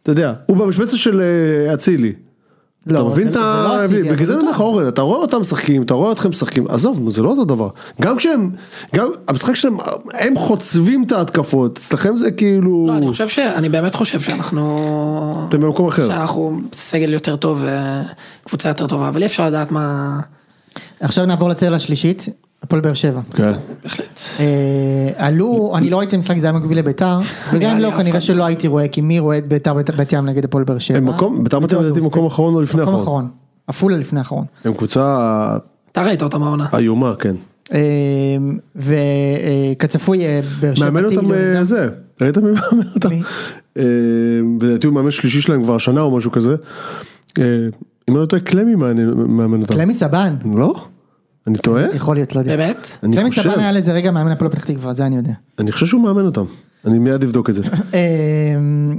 אתה יודע, הוא במשבצת של אה, אצילי. אתה
לא,
מבין
זה-
את
זה לא
ה...
אצילי, אבל
בגלל זה אני אומר לך אורן, אתה רואה אותם משחקים, אתה רואה אתכם משחקים, עזוב, נו, זה לא אותו דבר. גם כשהם, גם המשחק שלהם, הם חוצבים את ההתקפות, אצלכם זה כאילו,
לא, אני חושב ש... אני באמת חושב שאנחנו...
אתם במקום אחר.
שאנחנו סגל יותר טוב, אה, קבוצה יותר טובה, אבל אי אפשר לדעת מה...
עכשיו נעבור לצלע השלישית, הפועל באר שבע.
כן.
בהחלט.
אה, עלו, אני לא ראיתי משחק זה היה מקביל
(laughs)
לביתר, וגם אם
לי
לא
אף
כנראה
אחד.
שלא הייתי רואה, כי מי רואה את ביתר בת- בת ים נגד הפועל באר שבע?
הם מקום, בית"ר בת ים
בדיוק,
לדעתי
הוא
מקום
מספיק.
אחרון או לפני
מקום
אחרון.
אחרון, עפולה לפני האחרון.
הם קבוצה
אתה ראית אותם העונה.
איומה, כן.
אה, וכצפוי אה, באר שבע.
מאמן אותם אה, זה, ראית מי מאמן אותם?
מי?
אה, לדעתי הוא מאמן שלישי שלהם כבר השנה או משהו כזה. אה, אם אני לא טועה קלמי מאמן מאמן אותם.
קלמי סבן,
לא? אני טועה?
יכול להיות, לא יודע.
באמת?
אני
קלמי
חושב.
סבן היה לזה רגע מאמן הפועל פתח תקווה, זה אני יודע.
אני חושב שהוא מאמן אותם. אני מיד אבדוק את זה.
אמ,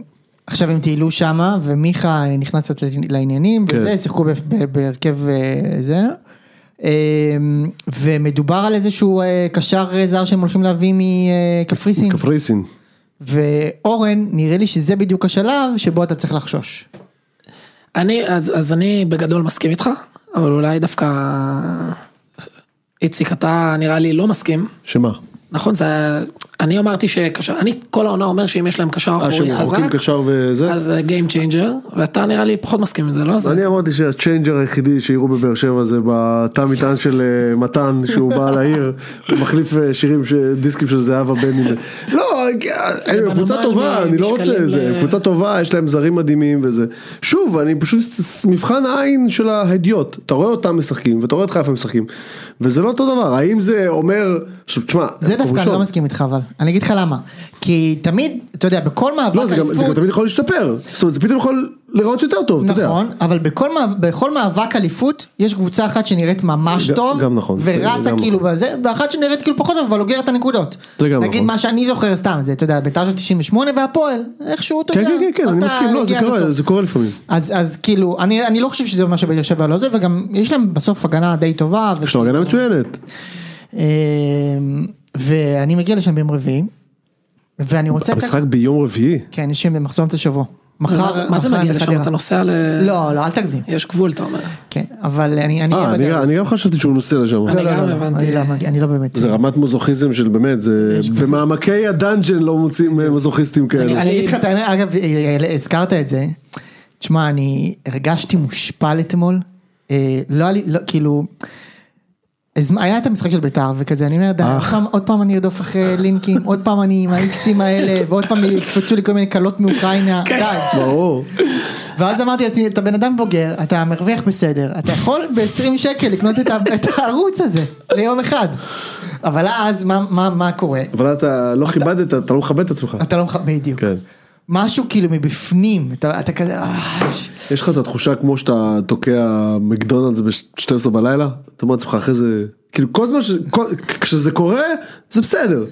עכשיו הם טיילו שמה ומיכה נכנס קצת לעניינים
כן.
וזה שיחקו ב- ב- בהרכב אה, זה. אמ, ומדובר על איזשהו אה, קשר אה, זר שהם הולכים להביא מקפריסין
קפריסין.
ואורן נראה לי שזה בדיוק השלב שבו אתה צריך לחשוש.
אני, אז, אז אני בגדול מסכים איתך, אבל אולי דווקא... איציק, אתה נראה לי לא מסכים,
שמה?
נכון, זה... היה- אני אמרתי שקשר, אני כל העונה אומר שאם יש להם קשר
אה,
אחורי
שהם
חזק,
רחוקים קשר וזה?
אז זה Game Changer, ואתה נראה לי פחות מסכים עם זה, לא? זה...
אני אמרתי שהצ'יינג'ר היחידי שיראו בבאר שבע זה בתא מטען של אה, מתן שהוא בא לעיר, הוא מחליף אה, שירים, ש- דיסקים של זהבה בני. לא, הם קבוצה
בנמל
טובה, אני לא
במשקלים,
רוצה, זה
אה,
קבוצה טובה, יש להם זרים מדהימים וזה. שוב, אני פשוט, ס- מבחן העין של ההדיוט, אתה רואה אותם משחקים ואתה רואה את חיפה משחקים, וזה לא אותו דבר, האם זה אומר, עכשיו, תשמע,
זה
הם
דווקא אני
ראשון.
לא מסכים איתך אבל, אני אגיד לך למה, כי תמיד, אתה יודע, בכל מאבק
לא, זה גם- זה גם תמיד יכול להשתפר, זאת אומרת, זה פתאום יכול להיראות יותר טוב, אתה יודע.
נכון, אבל בכל, מאב- בכל מאבק אליפות יש קבוצה אחת שנראית ממש
גם-
טוב,
גם נכון,
ורצה
גם
כאילו
נכון.
בזה, ואחת שנראית כאילו פחות טוב, אבל אוגרת את הנקודות.
זה גם
נגיד
נכון.
מה שאני זוכר סתם, זה אתה יודע, בית"ר של 98 והפועל, איכשהו אתה
כן,
יודע,
כן, כן, כן, אני
עשתה-
מסכים, לא, זה
הגיעה
קורה,
לסוף.
זה קורה לפעמים.
אז, אז כאילו, אני, אני לא חושב שזה מה שבאר שבע לא זה, וגם יש להם בסוף הגנה די טובה. ו-
יש לו הגנה מצוינת.
אמ, ואני מגיע לשם ביום רביעי, ואני רוצה...
המשחק ביום רביעי.
כן, יש שם במחסום את השבוע.
מה
מחר...
זה- מה זה
מחר
מגיע
אני
לשם?
בחדרה.
אתה נוסע ל...
לא, לא, אל תגזים.
יש גבול, אתה אומר.
כן, אבל אני... אני
אה, אני- אני גם חשבתי שהוא נוסע לשם.
אני
לא, לא,
גם
לא.
הבנתי.
אני לא, מגיע, אני לא באמת.
זה רמת מוזוכיזם של באמת, זה במעמקי הדאנג'ן לא מוצאים אה, מוזוכיסטים כאלה.
אני אגיד לך את האמת, אגב, אה, אה, הזכרת את זה. תשמע, אני הרגשתי מושפל אתמול. אה, לא היה לי, לא, כאילו... אז מה, היה את המשחק של ביתר וכזה, אני אומר, די, עוד פעם- עוד פעם אני ארדוף אחרי לינקים, עוד פעם אני עם האיקסים האלה, ועוד פעם יקפצו לי כל מיני כלות מאוקראינה,
כן.
די.
ברור.
ואז אמרתי לעצמי, אתה בן אדם בוגר, אתה מרוויח בסדר, אתה יכול ב-20 שקל לקנות את, ה- את הערוץ הזה ליום אחד. אבל אז מה, מה, מה קורה?
אבל אתה לא כיבדת, אתה לא מכבד את עצמך.
אתה לא מכבד, בדיוק.
כן.
משהו כאילו מבפנים, אתה, אתה כזה, "אה, ש-
יש לך את התחושה כמו שאתה תוקע מקדונלדס ב-12 בלילה, אתה אומר לעצמך אחרי זה, כאילו כל זמן שזה, כל- כשזה קורה, זה בסדר.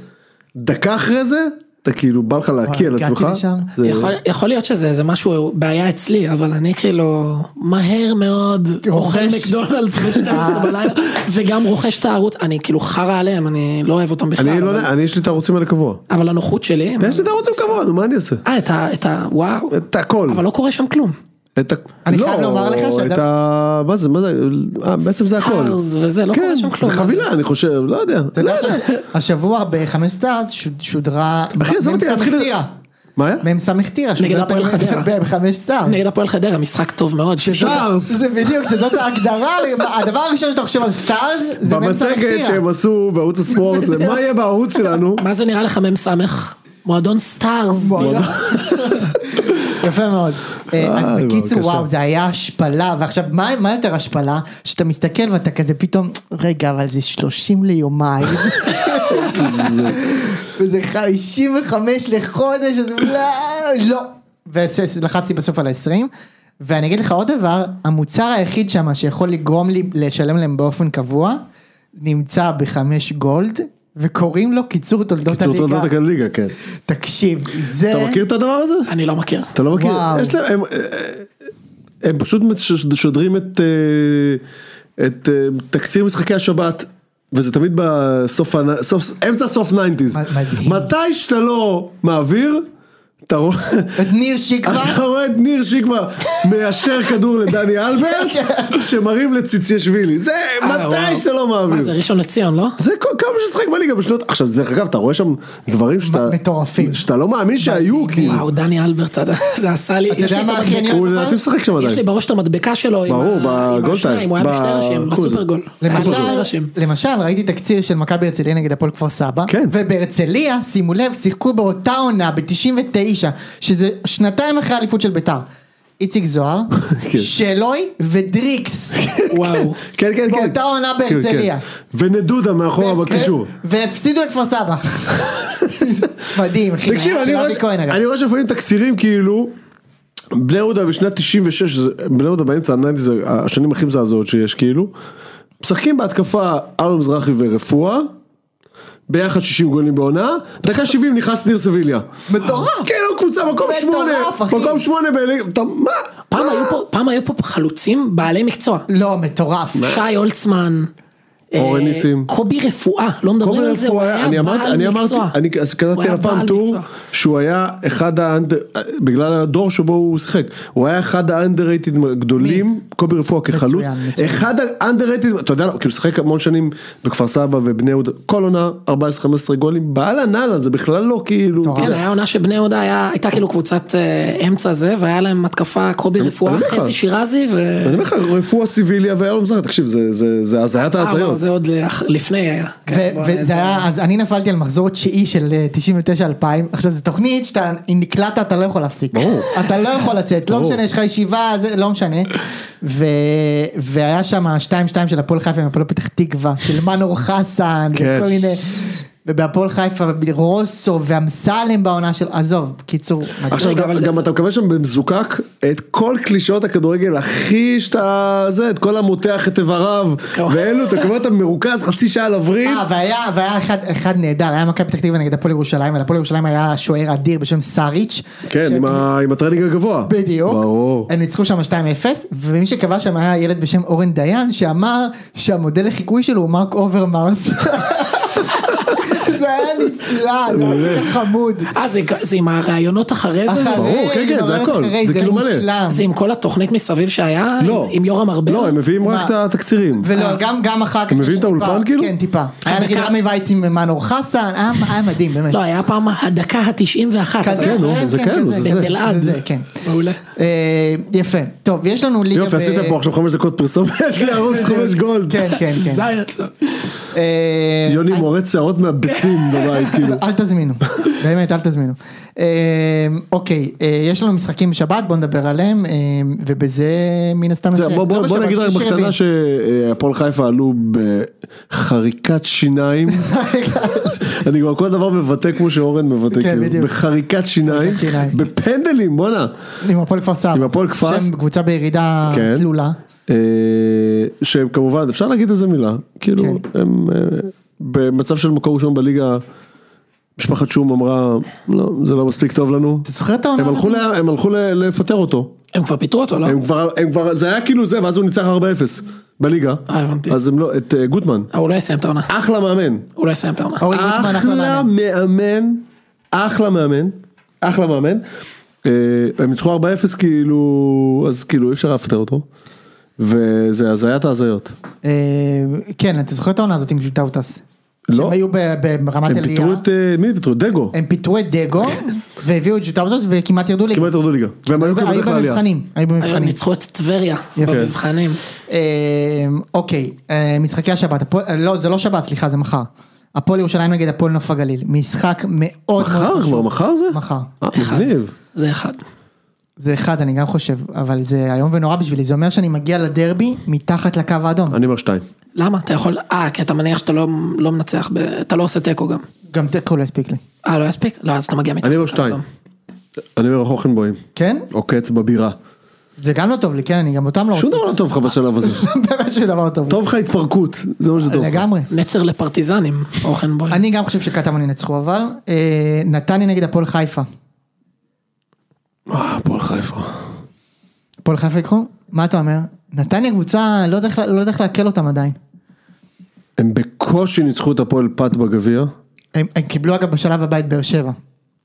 דקה אחרי זה, אתה כאילו בא לך להקיא על
הגעתי
עצמך.
לשם.
זה-
יכול, יכול להיות שזה איזה משהו, בעיה אצלי, אבל אני כאילו מהר מאוד
רוכש.
אוכל מקדונלדס ב-12
(laughs)
בלילה, וגם רוכש את הערוץ, אני כאילו חרא עליהם, אני לא אוהב אותם בכלל,
אני לא
אבל, אה.
יודע, אני יש לי את הערוצים האלה קבוע.
אבל הנוחות שלי,
יש לי את הערוצים קבוע, נו מה אני אעשה?
אה, את ה... את ה... וואו,
את הכל.
אבל לא קורה שם כלום.
את ה...
אני
לא,
חייב לומר לך שאתה-
את ה... מה זה, מה זה, אה, בעצם זה הכל.
סטארס וזה, לא קורה שם
כן,
כלום.
זה חבילה, אני חושב, לא יודע. לא יודע.
השבוע בחמש סטארס ש- שודרה,
אחי, עזוב אותי,
מ"ס
להתחיל-
טירה.
מה היה?
מ"ס טירה,
נגד
שודרה
הפועל
ב-
חדרה.
בחמש
אה.
סטארס.
נגד הפועל חדרה, משחק טוב מאוד.
סטארס.
זה בדיוק, שזאת ההגדרה, הדבר הראשון שאתה חושב על סטארס, זה מ"ס
במצגת
טירה.
שהם עשו בערוץ
(laughs)
הספורט, מה יהיה בערוץ שלנו?
מה זה נראה לך מ"ס? מועדון סטארס.
מועדון. יפה מאוד. אה, אז
וואי,
בקיצור
בבקשה.
וואו זה היה השפלה ועכשיו מה מה יותר השפלה שאתה מסתכל ואתה כזה פתאום רגע אבל זה 30
(laughs)
ליומיים וזה 55 לחודש אז לא לא ולחצתי בסוף על ה-20 ואני אגיד לך עוד דבר המוצר היחיד שם שיכול לגרום לי לשלם להם באופן קבוע נמצא בחמש גולד וכוראים לו קיצור תולדות
קיצור
הליגה
תולדות הליגה, כן.
תקשיב זה
אה?
אתה מכיר את הדבר הזה?
אני לא מכיר.
אתה לא מכיר?
וואו.
יש להם, הם, אה, הם פשוט מש- שודרים את, אה, את אה, תקציר משחקי השבת. וזה תמיד בסוף, הנ- סוף, אמצע סוף 90's.
מדהים.
מתי שאתה לא מעביר, אתה רואה,
(laughs)
את ניר שיקמן
אתה לא- רואה את ניר שיקווה מיישר כדור לדני אלברט, שמרים לציציאשווילי, זה
כן. אה, וואו.
מתי שאתה לא
מה זה
מעביר.
ראשון לציון, לא?
זה כל- כמה ששחק בליגה בשנות, עכשיו דרך אגב אתה רואה שם דברים שאתה,
מטורפים.
שאתה לא מאמין שהיו, כאילו,
וואו, דני אלברט, אתה- זה עשה לי...
אתה
יש לי
יודע
את
מה הכי
המדבקה-
עניין?
הוא
אבל-
לדעתי משחק שם
יש לי
עדיין.
בראש את המדבקה שלו, עם
ברור,
ה- עם
בגולטיים,
השניים, הוא היה
ב-
בשתי ראשים,
אחוז.
בסופרגול.
לא
למשל, למשל ראיתי תקציר של מכבי הרצליה נגד הפועל כפר סבא,
כן.
ובהרצליה, שימו לב, שיחקו באותה עונה ב-99, שזה שנתיים אחרי האליפות של ביתר. איציק זוהר,
(laughs) כן.
שלוי
(laughs)
ודריקס.
וואו.
כן כן כן.
באותה עונה
כן, כן.
בהרצליה.
ונדודה מאחורה בקישור.
ו- כן? והפסידו לכפר
(laughs)
סבא. מדהים, אחי.
תקשיב,
היה
אני
כן, של
רואה-
אבי כהן, אגב.
אני רואה שלפעמים תקצירים כאילו, בני יהודה בשנת 96, זה- בני יהודה באמצע ה-90 זה השנים הכי מזעזעות שיש כאילו, משחקים בהתקפה אלון מזרחי ורפואה, ביחד 60 גולים בעונה, דקה 70 נכנס ניר סביליה.
מטורף.
כאילו קבוצה מקום
מטורף,
שמונה,
אחי.
מקום שמונה בליגה, אתה- מה?
פעם היו פה- פעם היו פה חלוצים בעלי מקצוע.
לא, מטורף.
שי הולצמן,
אורן
אה,
ניסים.
קובי רפואה, לא מדברים על זה, הוא היה
אני אמרתי, אני
בעל
אמרתי,
מקצוע.
אני אז
הוא
קלטתי
היה
על פעם
בעל
טור
מקצוע.
שהוא היה אחד האנדר, בגלל הדור שבו הוא שיחק, הוא היה אחד האנדררייטד הגדולים, קובי רפואה כחלוץ,
מצוין, מצוין.
אחד האנדררייטד, אתה יודע, כי הוא שיחק המון שנים בכפר סבא ובני יהודה, כל עונה 14-15 גולים, באהלן אהלן, זה בכלל לא כאילו,
מטורף.
אתה
כן,
יודע,
היה עונה שבני יהודה היה- הייתה כאילו קבוצת אה, אמצע זה, והיה להם התקפה קובי רפואה,
אני אומר לך.
חזי שירזי ו...
אני אומר לך, רפואה סיביליה ואיילון מזרח, תקשיב, זה- זה זה הזיית
אה, לא,
ההזיות.
זה עוד לאח- לפני היה. כן, בוא,
וזה
זה-
היה, אז אני נפלתי על מחזור תשיעי של אה, 99-2000, עכשיו זו תוכנית שאתה, אם נקלעת אתה לא יכול להפסיק,
ברור.
אתה לא יכול לצאת, לא
ברור.
משנה, יש לך ישיבה, זה לא משנה, ו- והיה שם 2-2 של הפועל חיפה עם הפועל פתח תקווה, של מנור חסן,
כן.
וכל מיני, ובהפועל חיפה רוסו ואמסלם בעונה של, עזוב, קיצור, מדהים.
עכשיו
רגע, אבל
גם,
זה-
גם
זה-
אתה מקבל שם במזוקק את כל קלישאות הכדורגל הכי שאתה זה את כל המותח את איבריו
כמובן.
ואלו אתה מקבל אותם מרוכז חצי שעה על הווריד.
אה, והיה, והיה אחד, אחד נהדר, היה מכבי פתח תקווה נגד הפועל ירושלים, ולפועל ירושלים היה שוער אדיר בשם סאריץ'.
כן
ש-
עם, ה... עם הטרנינג הגבוה.
בדיוק,
ברור.
הם ניצחו שם 2-0, ומי שקבע שם היה ילד בשם אורן דיין, שאמר שהמודל לחיקוי שלו הוא מרק אוברמרס. (laughs) זה היה נפלא, זה היה כל כך חמוד.
אה, זה ג- זה עם הראיונות אחרי זה?
אחרי,
ברור, כן, כן, זה
אבל
הכל,
אחרי, היה
זה כאילו מלא.
מושלם.
זה עם כל התוכנית מסביב שהיה?
לא.
עם- אה, עם יורם ארבל?
לא הם מביאים
מה?
רק את התקצירים.
ולא, גם, גם אחר כך.
הם מביאים
יש
את האולפן,
טיפה-
כאילו?
כן, טיפה. היה נגיד
דקה.
רמי וייץ עם מנור חסן, היה- היה מדהים, באמת.
לא, היה פעם הדקה ה-91.
כזה,
כן, נו, זה כן,
כזה,
זה
כזה,
זה.
בתלעד.
זה, כן.
מעולה.
אה, יפה. טוב, יש לנו ליגה...
יופי
ב-
עשית פה עכשיו חמש דקות פרסומת לערוץ חמש גולד.
כן, כן, כן.
(laughs) זה היה צו-
אה,
יוני
אל-
מורט שערות מהביצים בבית כאילו.
אל
(laughs)
תזמינו, באמת אל תזמינו. אה, אוקיי, אה, יש לנו משחקים בשבת, בוא נדבר עליהם, אה, ובזה מן הסתם...
זה,
נסיים.
בוא, בוא,
לא
בוא
בשבת,
נגיד רק
שלישי,
בקטנה
רביעי.
שהפועל חיפה עלו בחריקת שיניים. אני כבר כל דבר מבטא כמו שאורן מבטא,
כן,
כאילו,
בדיוק.
בחריקת שיניים,
חריקת שיניים.
בפנדלים, בואנה.
(laughs) עם הפועל כפר סבא.
עם הפועל כפר-
שהם קבוצה בירידה
כן.
תלולה.
אה, שהם כמובן, אפשר להגיד איזה מילה, כאילו,
כן.
הם אה, במצב של מקום ראשון בליגה, משפחת שום אמרה, לא, זה לא מספיק טוב לנו.
אתה זוכר את העונה
הם
הזאת?
הלכו, ל- הם הלכו ל- לפטר אותו,
הם כבר פיטרו
אה.
אותו, לא?
הם כבר, הם כבר, זה היה כאילו זה, ואז הוא ניצח 4-0 בליגה,
אה, הבנתי.
אז הם לא, את אה, גוטמן,
אה, הוא לא יסיים את העונה.
אחלה מאמן,
הוא לא יסיים את העונה.
אורי גוטמן, אחלה
אחלה
מאמן.
מאמן, אחלה מאמן, אחלה מאמן. אה, הם ניצחו 4-0 כאילו, אז כאילו אי אפשר היה לפטר אותו. וזה הזיית ההזיות.
אה, כן, אתה זוכר את העונה הזאת עם ג'וטאוטס.
לא.
שהם היו ב- ברמת
הם
עלייה.
פיטרו את, אה, מי פיטרו? דגו.
הם פיטרו את
(laughs)
דגו, והביאו את ג'וטאוטס וכמעט ירדו ליגה.
כמעט ירדו ליגה. והם היו כאילו
היו
בדרך לעלייה.
במבחנים. היו
היו-
במבחנים.
ניצחו את טבריה
יפה.
במבחנים.
אה, אוקיי, אה, משחקי השבת, הפועל- אה, לא זה לא שבת, סליחה זה מחר. הפועל ירושלים נגד הפועל נוף הגליל, משחק מאוד מאוד
מחר?
חשוב.
כבר מחר זה?
מחר.
אה, מגניב.
זה אחד.
זה אחד אני גם חושב, אבל זה איום ונורא בשבילי, זה אומר שאני מגיע לדרבי מתחת לקו האדום.
אני אומר שתיים.
למה? אתה יכול... אה, כי אתה מניח שאתה לא לא מנצח, ב- אתה לא עושה תיקו גם.
גם תיקו לא הספיק לי.
אה, לא יספיק? לא, אז אתה מגיע מתחת.
אני אומר
לקו
שתיים.
האדום.
אני אומר הוכנבוים.
כן?
עוקץ בבירה.
זה גם לא טוב לי, כן? אני גם אותם לא רוצה.
שום דבר לא טוב לך
(laughs)
בשלב הזה.
באמת שום דבר לא טוב.
טוב לך התפרקות. זה מה שטוב לך.
לגמרי.
נצר לפרטיזנים, אוכנבוי.
אני גם חושב שקטמון ינצחו אבל, אה, נתניה נגד הפועל חיפה.
אה, הפועל חיפה.
הפועל חיפה יקחו? מה אתה אומר? נתניה קבוצה, לא יודע איך- לא יודע איך לעכל אותם עדיין.
הם בקושי ניצחו את הפועל פת בגביע.
הם, הם קיבלו אגב בשלב הבא את באר שבע.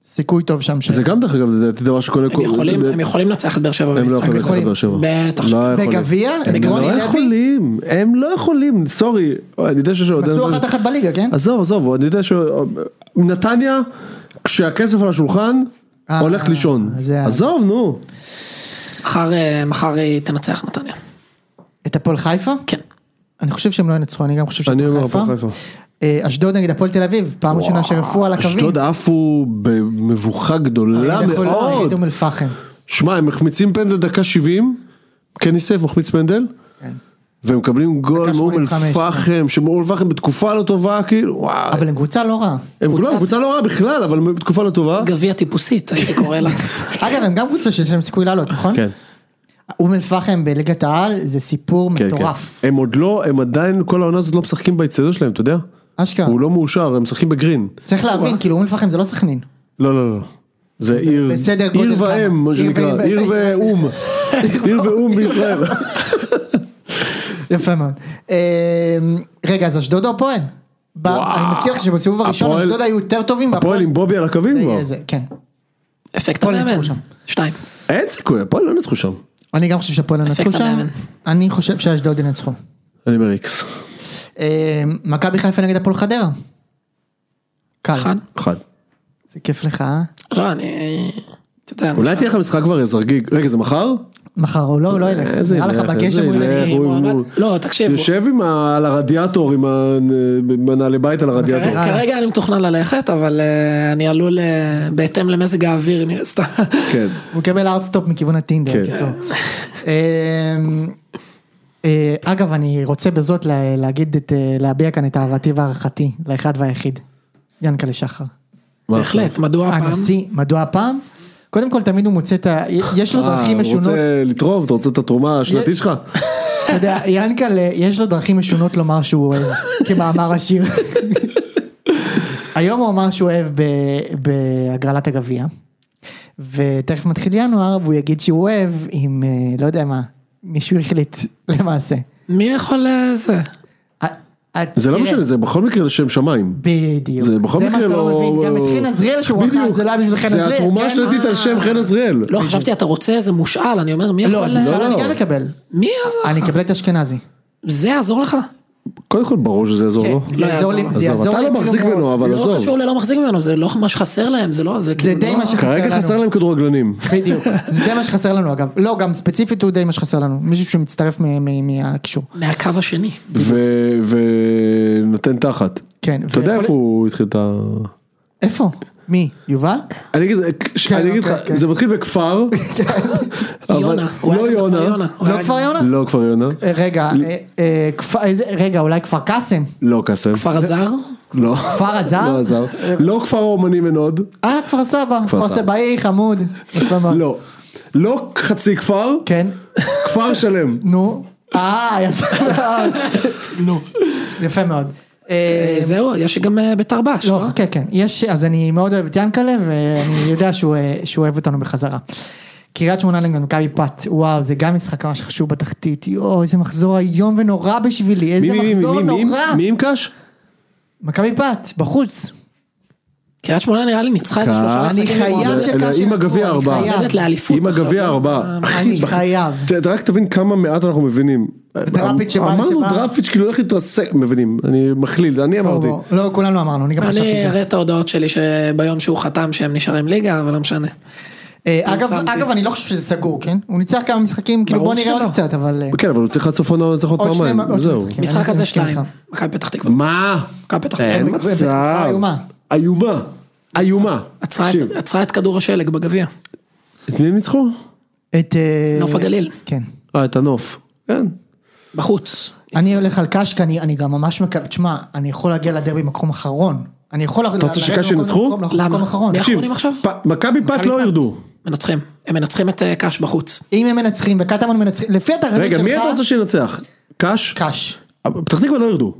סיכוי טוב שם. ש...
זה גם דרך אגב, לדעתי דבר שקונה...
הם יכולים- הם יכולים לנצח את באר שבע
הם לא
במשחק.
יכולים
יכולים.
לנצח את באר שבע.
בטח
לא
ש-
יכולים.
בגביע?
הם
בגרוני
לא
לוי?
יכולים. הם לא יכולים, סורי. אני יודע שיש... אוהדי
עשו
נתניה-
אחת אחת בליגה, כן?
עזוב, עזוב, אני יודע ש... נתניה, כשהכסף על השולחן,
אה,
הולכת לישון.
זה ה-
עזוב, נו.
מחר, אה, מחר היא תנצח נתניה.
את הפועל חיפה?
כן.
אני חושב שהם לא ינצחו, אני גם חושב
אני
שהפועל
אומר הפועל חיפה.
אה, אשדוד נגד הפועל תל אביב, פעם ראשונה שרפו על הקווים. אה,
אשדוד עפו במבוכה גדולה
הם יכולים
מאוד.
נגד אום אל-פחם.
שמע, הם מחמיצים פנדל דקה 70, קניסף מחמיץ פנדל,
כן.
והם מקבלים גול
דקה
מאום אל
85,
פחם, שמאום אל פחם בתקופה לא טובה, כאילו, וואו.
אבל הם קבוצה כן, לא רעה.
הם
קבוצת-
כולם קבוצה לא רעה בכלל, אבל הם בתקופה לא טובה.
גביע טיפוסית, הייתי
(laughs)
קורא לה.
אגב, הם גם קבוצה שיש להם סיכוי לעלות, נכון?
כן,
אום אל-פחם בליגת העל זה סיפור
כן, כן.
מטורף.
הם עוד לא, הם עדיין כל העונה הזאת לא משחקים באצטדיון שלהם, אתה יודע?
אשכרה.
הוא לא מאושר, הם משחקים בגרין.
צריך להבין, כאילו אום אל-פחם זה לא סכנין.
לא, לא, לא. זה עיר,
בסדר גודל
עיר
כמה.
ואם, מה
עיר (laughs)
שנקרא,
ואם- (laughs)
עיר ואום, עיר ואום בישראל.
יפה מאוד. אה, רגע, אז אשדוד או הפועל? ב-
וואו.
אני מזכיר לך שבסיבוב הראשון
הפועל-
אשדוד היו יותר טובים.
הפועל עם בובי על הקווים כבר.
והפועל- זה- כן.
אפקט
הפועל
המאמן.
ניצחו שם.
שתיים.
אין סיכוי, הפועל לא ניצחו שם.
אני גם חושב שהפועל ינצחו
אפקט
שם.
המאמן.
אני חושב שאשדוד ינצחו.
אני אומר איקס.
אה, מכבי חיפה נגד הפועל חדרה. קל.
אחד.
אחד.
זה כיף לך, אה?
לא, אני... אתה יודע, אני
אולי תהיה לך משחק כבר זרגיג. רגע, זה מחר?
מחר הוא לא, הוא לא ילך.
איזה
נראה לך
ילך,
בגשם
איזה
הוא ילך.
ילך, הוא-
מועמד-
הוא-
לא, תקשיב,
יושב עם ה- על הרדיאטור, עם המנהלי בית על הרדיאטור.
יאללה.
כרגע אני מתוכנן ללכת, אבל אה, אני עלול אה, בהתאם למזג האוויר, נראה, סתם.
כן.
הוא קיבל ארטסטופ מכיוון הטינדר,
כן.
בקיצור. אמ, אה, אגב, אני רוצה בזאת לה- להגיד את, אה, להביע כאן את אהבתי והערכתי לאחד והיחיד, ינקלה שחר.
מה?
בהחלט,
אה,
מדוע הפעם?
הנשיא, מדוע הפעם? קודם כל, תמיד הוא מוצא את ה... יש לו
אה,
לא, דרכים
הוא
משונות,
רוצה לתרום, אתה רוצה את התרומה השנתית שלך?
אתה יודע, ינקלה, יש לו דרכים משונות לומר שהוא אוהב, כמאמר השיר. היום הוא אמר שהוא אוהב ב- בהגרלת הגביע, ותכף מתחיל ינואר והוא יגיד שהוא אוהב עם אה, לא יודע מה, מישהו החליט למעשה.
מי יכול אה, זה?
אה, אה,
זה לא
תראה,
משנה, זה בכל מקרה לשם שמיים.
בדיוק,
זה בכל
זה מה
מקרה
שאתה לא
לא...
מבין, גם את חן עזריאל שהוא רכש,
בדיוק.
זה לא היה בשביל חן עזריאל,
זה התרומה
כן?
השנתית על שם חן עזריאל.
לא, חשבתי אתה רוצה איזה מושאל, אני אומר, מי
לא,
יכול... אה,
למשל אני
לא.
גם מקבל,
מי יעזור
אני
לך?
אקבל את אשכנזי,
זה יעזור לך?
קודם כל ברור שזה יעזור
כן,
לו.
זה יעזור לי, זה
לא. עזוב,
יעזור
אתה
לי
לא
אפילו
מחזיק
מאוד.
ממנו, אבל
לא
עזוב.
קשור ללא מחזיק ממנו, זה לא מה שחסר להם, זה לא... זה
זה
כאילו
די
לא-
מה שחסר לנו.
כרגע חסר להם כדורגלנים.
בדיוק, זה די מה שחסר לנו אגב, לא גם ספציפית הוא די מה שחסר לנו, מישהו שמצטרף מ- מ- מהקישור,
מהקו השני.
ו-
(laughs)
ונותן תחת.
כן,
אתה יודע
ויכול-
איפה הוא התחיל את ה...
איפה? מי? יובל? לא
אני אגיד אני אגיד לך,
אוקיי, כן.
זה מתחיל בכפר,
(laughs)
אבל
יונה. הוא היה
לא
גם בכפר
יונה,
הוא היה
לא
גם-
כפר יונה?
לא כפר יונה,
אה, רגע, אה, אה, כפר- איזה- רגע אולי כפר קאסם?
לא קאסם,
כפר עזר?
לא,
כפר עזר?
לא עזר, לא כפר האומנים עוד,
אה כפר סבא, כפר
סבא.
סבאי חמוד, יפה מאוד.
לא, לא חצי כפר,
אה. כן,
כפר שלם,
נו, אה יפה מאוד,
נו.
יפה מאוד. אה,
זהו, יש גם אה, ביתר בש,
לא,
לא?
חכה, כן, יש, אז אני מאוד אוהב את ינקלה, ואני יודע שהוא, אה, שהוא אוהב אותנו בחזרה. קריית שמונה נגד מכבי פת, וואו, זה גם משחק ממש חשוב בתחתית, יואו, איזה מחזור איום ונורא בשבילי, איזה
מי מי מי
מחזור
מי מי
נורא.
מי עם קאש?
מכבי פת, בחוץ.
קריית שמונה נראה לי ניצחה איזה שלושה
קהל.
אני
משחקים.
חייב
מועמדת.
שקאש
אלא אה, עם
יעצרו,
הגביע
אני
ארבעה,
חייב.
מועמדת לאליפות.
עם
עכשיו. אה.
הגביע ארבעה, אחי,
אני חייב.
ת- רק תבין כמה מעט אנחנו מבינים,
דראפיץ' שבא
אמרנו
לשבעה.
דראפיץ' כאילו הולך להתרסק, מבינים, אני מכליל, אני
בוא,
אמרתי,
בוא. לא, כולנו אמרנו, אני גם חשבתי
אני
את זה.
אראה את ההודעות שלי שביום שהוא חתם שהם נשארים ליגה, אבל לא משנה.
אה, אגב,
פרסמתי.
אגב, אני לא חושב שזה סגור, כן? הוא ניצח כמה משחקים, כאילו
ברור
בוא נראה עוד
שלא.
קצת, אבל... אה,
כן אבל הוא צריך עד סוף העונה לנצח עוד
עוד שני-
פעמיים,
עוד שני
זהו,
משחקים. אני כן,
משחק הזה
מסכים
שניים.
איתך.
מכבי פתח תקווה.
מה?
מכבי פתח
אין
תקווה.
מצב. בתקופה איומה.
איומה. איומה.
עצרה את-
תקשיב,
עצרה את כדור השלג בגביע.
את מי הם ניצחו?
את... אה,
נוף הגליל.
כן.
אה, את הנוף. כן.
בחוץ.
אני הולך על קשקה, אני, אני גם ממש מקווה, תשמע, אני יכול להגיע לדרבי מקום אחרון. אני יכול... אתה
רוצה שקש ינצחו?
למה?
מקום אחרון.
מי-
תקשיב,
אחרונים עכשיו?
פ- מכבי פת לא ירדו.
מנצחים. הם מנצחים את אה, קאש בחוץ.
אם הם מנצחים וקטמון מנצחים, לפי התחזית שלך...
רגע, מי אתה רוצה שינצח? קאש?
קש.
פתח תקווה לא ירדו.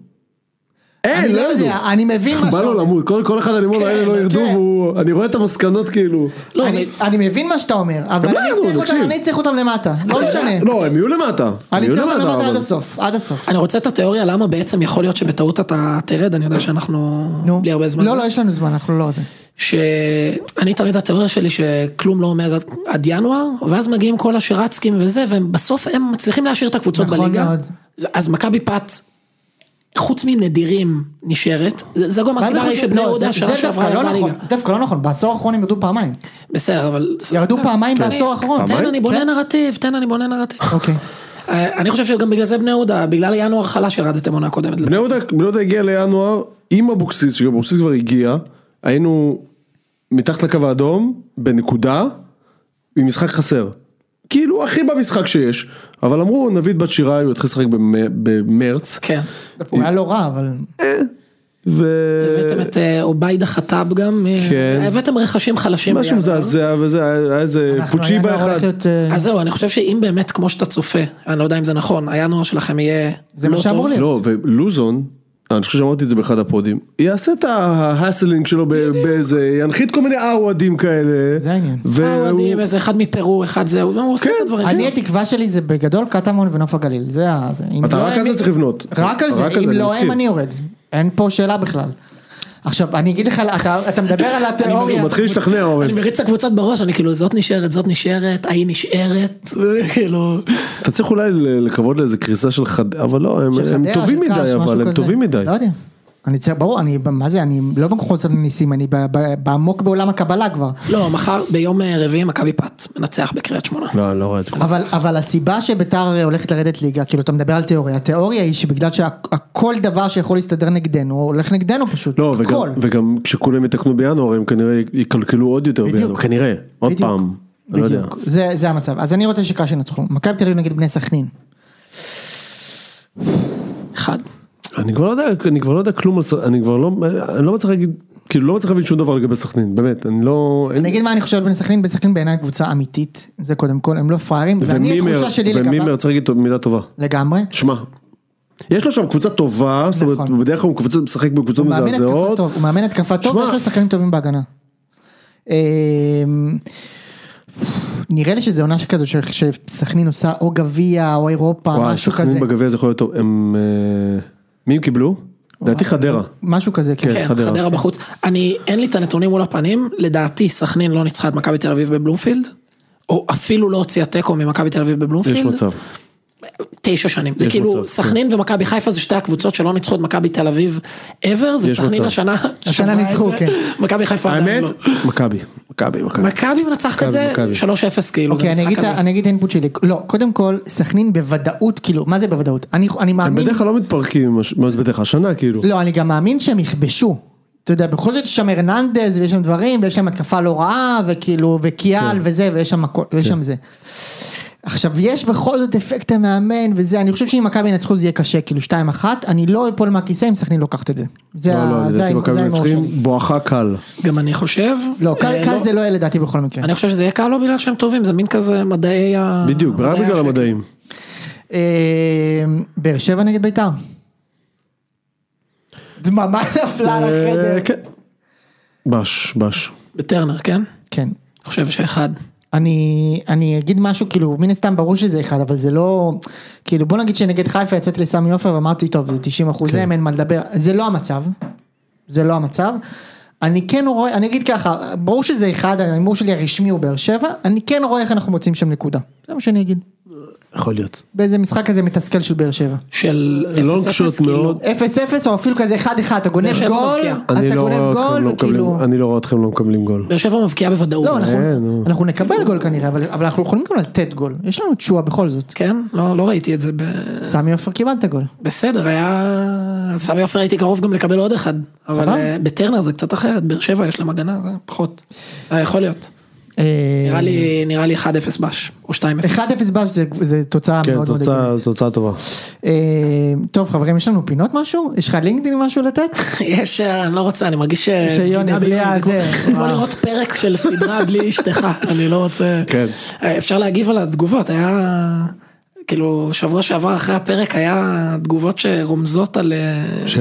אין,
אני
לא
לא
ירדו.
יודע, אני מבין מה
(laughs) בא
שאתה
לו
אומר.
למות, כל כל אחד אני אומר לו, אלה לא
כן,
ירדו,
כן.
והוא- אני רואה את המסקנות כאילו.
לא,
אני-
אבל-
אני מבין מה שאתה אומר, אבל
לא
אני
ירדו,
צריך אותם-
תקשיב.
אני צריך אותם למטה, לא משנה.
לא, הם יהיו למטה. הם
אני
יהיו
צריך אותם למטה
אבל-
עד הסוף, עד הסוף.
אני רוצה את התיאוריה למה בעצם יכול להיות שבטעות אתה תרד, אני יודע שאנחנו
נו.
בלי הרבה זמן.
לא, לא, יש לנו זמן, אנחנו לא זה.
שאני תמיד התיאוריה שלי שכלום לא אומר עד- עד ינואר, ואז מגיעים כל השרצקים וזה, ובסוף הם מצליחים להשאיר את הקבוצות
נכון
בליגה.
מאוד.
אז מכבי פת, חוץ מנדירים, נשארת. זה זה גם
מה זה
הסיבה הרי
חוץ-
שבני
לא,
יהודה
זה-
שנה
זה
שעברה
דווקא לא
ירדה ליגה.
נכון, זה דווקא לא נכון, בעשור האחרון הם ירדו פעמיים.
בסדר, אבל...
ירדו
בסדר.
פעמיים
כן.
בעשור האחרון. כן.
תן,
פעמיים?
אני בונה נרטיב, תן, אני בונה נרטיב.
אוקיי.
אה, אני חושב שגם בגלל זה בני יהודה, בגלל ינואר חלש ירדתם עונה קודמת.
בני יהודה, בני יהודה הגיע לינואר עם אבוקסיס, שגם אבוקסיס כבר הגיע, היינו מתחת לקו האדום, בנקודה, עם משחק חסר. כאילו הכי במשחק שיש, אבל אמרו נביא את בת שיראי, הוא יתחיל לשחק במ- במרץ,
כן.
הוא היה לא רע, אבל...
ו...
הבאתם את אה, עוביידה חטאב גם. אה,
כן.
הבאתם רכשים חלשים.
משהו
בינואר.
מזעזע וזה, היה היה איזה
אנחנו
פוצ'יבה
הינואר הולך
אחד.
להיות, אה,
אז זהו, אני חושב שאם באמת, כמו שאתה צופה, אני לא יודע אם זה נכון, הינואר שלכם יהיה
זה
לא
מה שאמור
טוב.
להיות.
לא, ולוזון, אני חושב שאמרתי את זה באחד הפודים, יעשה את ההסלינג שלו ב- באיזה, ינחית כל מיני עוואדים כאלה.
זה העניין.
והוא-
אוהדים, אה, איזה אחד מפרו, אחד זה, הוא הוא עושה
כן,
את הדברים
אני
שלו.
התקווה שלי זה בגדול קטמון ונוף הגליל, זה ה... זה. אם
אתה
לא
רק
הם-
על זה צריך לבנות.
רק על זה,
רק על
אם
זה, אני
לא הם
מסכים.
אני יורד, אין פה שאלה בכלל. עכשיו אני אגיד לך, אתה- אתה מדבר
(laughs)
על התיאוריה,
הוא מתחיל להשתכנע אורן.
אני מריץ את הקבוצות בראש, אני כאילו, זאת נשארת, זאת נשארת, ההיא נשארת, (laughs) זה כאילו...
אתה צריך אולי ל- לקוות לאיזה קריסה של חד... אבל לא, הם-
של
הם
חדרה,
טובים
של
מדי,
קאש, משהו
אבל הם
כזה.
טובים מדי.
לא יודע. אני צריך, ברור, אני, מה זה, אני לא בכוחות הניסים, אני ב- ב- בעמוק בעולם הקבלה כבר.
לא, מחר, ביום אה, רביעי, מכבי פת, מנצח בקריית שמונה.
לא, אני לא רואה את זה.
אבל, אבל הסיבה שביתר הולכת לרדת ליגה, כאילו אתה מדבר על תיאוריה, התיאוריה היא שבגלל שהכל דבר שיכול להסתדר נגדנו, הולך נגדנו פשוט,
לא, וגם,
הכל.
וגם כשכולם יתקנו בינואר הם כנראה יקלקלו עוד יותר
בדיוק.
בינואר, כנראה, עוד
בדיוק.
פעם, אני לא יודע.
בדיוק, זה, זה המצב. אז אני רוצה שקאש ינצחו. מכבי תל אביב נגד בני סכנין.
אחד.
אני כבר לא יודע, אני כבר לא יודע כלום, על ס- אני כבר לא, אני לא מצליח להגיד, כאילו לא מצליח להבין שום דבר לגבי סכנין, באמת, אני לא, אין-
אני אגיד מה אני חושב על בני סכנין, בני סכנין בעיניי קבוצה אמיתית, זה קודם כל, הם לא פראיירים, ואני
ומימר,
התחושה שלי לגמרי,
ומימר צריך להגיד מילה טובה,
לגמרי,
שמע, יש לו שם קבוצה טובה, זאת אומרת,
נכון.
בדרך כלל הוא קבוצה- משחק בקבוצות
הוא מאמן התקפה
מזעזעות,
טוב, הוא מאמן התקפה טוב,
שמע-
ויש לו שחקנים טובים בהגנה. אמ, נראה לי שזה עונה שכזו, ש- שסכנין עושה או גביע או אירופה,
וואי,
משהו כזה,
סכנין בגביע זה יכול להיות טוב, הם, אה, מי הם קיבלו? לדעתי
אה,
חדרה,
משהו כזה, כן.
כן,
חדרה.
חדרה בחוץ. אני, אין לי את הנתונים מול הפנים, לדעתי סכנין לא ניצחה את מכבי תל אביב בבלומפילד, או אפילו לא הוציאה תיקו ממכבי תל אביב
יש
בבלומפילד,
מצב,
אה,
תשע שנים. זה
יש
כאילו,
מצב, כן.
סכנין ומכבי חיפה זה שתי הקבוצות שלא ניצחו את מכבי תל אביב ever, וסכנין
מצב.
השנה,
השנה
שברה את
ניצחו,
זה.
כן.
מכבי חיפה עדיין
האמת,
לא.
מכבי, מכבי, מכבי.
מכבי מנצחת את
מכבי,
זה
מכבי.
3-0 כאילו, זה
אוקיי, אני
משחק
אגיד את
כזה.
ה- אני אגיד את האינפוט שלי, לא, קודם כל, סכנין בוודאות, כאילו, מה זה בוודאות? אני אני
הם
מאמין,
בדרך כלל לא מתפרקים, מה ש- מה זה בדרך כלל, השנה כאילו.
לא, אני גם מאמין שהם יכבשו. אתה יודע, בכל זאת יש שם הרננדז ויש שם דברים ויש שם התקפה לא רעה וכאילו וקיאל
כן.
וזה ויש שם הכל ויש שם זה. עכשיו יש בכל זאת אפקט המאמן וזה אני חושב שאם מכבי ינצחו זה יהיה קשה כאילו 2-1 אני לא אפול מהכיסא אם סכנין לוקחת את זה. זה
לא,
ה-
לא,
זה ה-
לדעתי
זה אה,
מכבי
ההימור שלי.
מנצחים בואכה קל.
גם אני חושב.
לא
אה,
קל קל זה לא יהיה לדעתי בכל מקרה.
אני חושב שזה יהיה קל לא בגלל שהם טובים, זה מין כזה מדעי ה...
בדיוק, רק
מדעי
בגלל
השקט.
המדעים.
אה, באר שבע נגד בית"ר. דממה נפלה על
אה,
החדר.
כן. בש, בש.
בטרנר, כן?
כן.
אני חושב שאחד.
אני, אני אגיד משהו, כאילו, מן הסתם ברור שזה אחד, אבל זה לא, כאילו, בוא נגיד שנגד חיפה יצאתי לסמי עופר ואמרתי, טוב, זה 90
כן.
אחוזים, אין מה לדבר, זה לא המצב, זה לא המצב. אני כן רואה, אני אגיד ככה, ברור שזה אחד, ההימור שלי הרשמי הוא באר שבע, אני כן רואה איך אנחנו מוצאים שם נקודה, זה מה שאני אגיד,
יכול להיות.
באיזה משחק כזה מתסכל של באר שבע.
של
לא
0-0,
קשות
כאילו,
מאוד.
0-0 או אפילו כזה 1-1, אתה גונב
באר שבע
גול,
מבקיע.
אני
אתה
לא רואה
גונב
אתכם
גול,
לא
וכאילו,
מקבלים- אני לא רואה אתכם לא מקבלים גול.
באר שבע מבקיעה בוודאות.
לא, אנחנו-
אה, נו.
אנחנו נקבל גול כנראה, אבל אבל אנחנו יכולים גם לתת גול, יש לנו תשואה בכל זאת.
כן? לא, לא ראיתי את זה ב...
סמי עופר קיבלת גול.
בסדר, היה... סמי עופר הייתי קרוב גם לקבל עוד אחד. אבל
סבבה.
אה, בטרנר זה קצת אחרת, באר שבע יש להם הגנה, זה פחות. אה, יכול להיות.
אה,
נראה לי, נראה לי 1-0 בש, או 2-0.
1-0 באז זה- זה תוצאה
כן,
מאוד מאוד
תוצאה-
הגיונית.
תוצאה טובה.
אה, טוב חברים, יש לנו פינות משהו? יש לך לינקדאין משהו
(laughs)
לתת?
(laughs) יש, אה, אני לא רוצה, אני מרגיש ש...
שיוני,
גינה
בלי
ביוני,
הזה. אה.
כמו- זה כמו לראות פרק של
(laughs)
סדרה בלי אשתך, אני לא רוצה...
כן.
אה, אפשר להגיב על התגובות, היה... כאילו, שבוע שעבר אחרי הפרק היה תגובות שרומזות על... אה,
ש?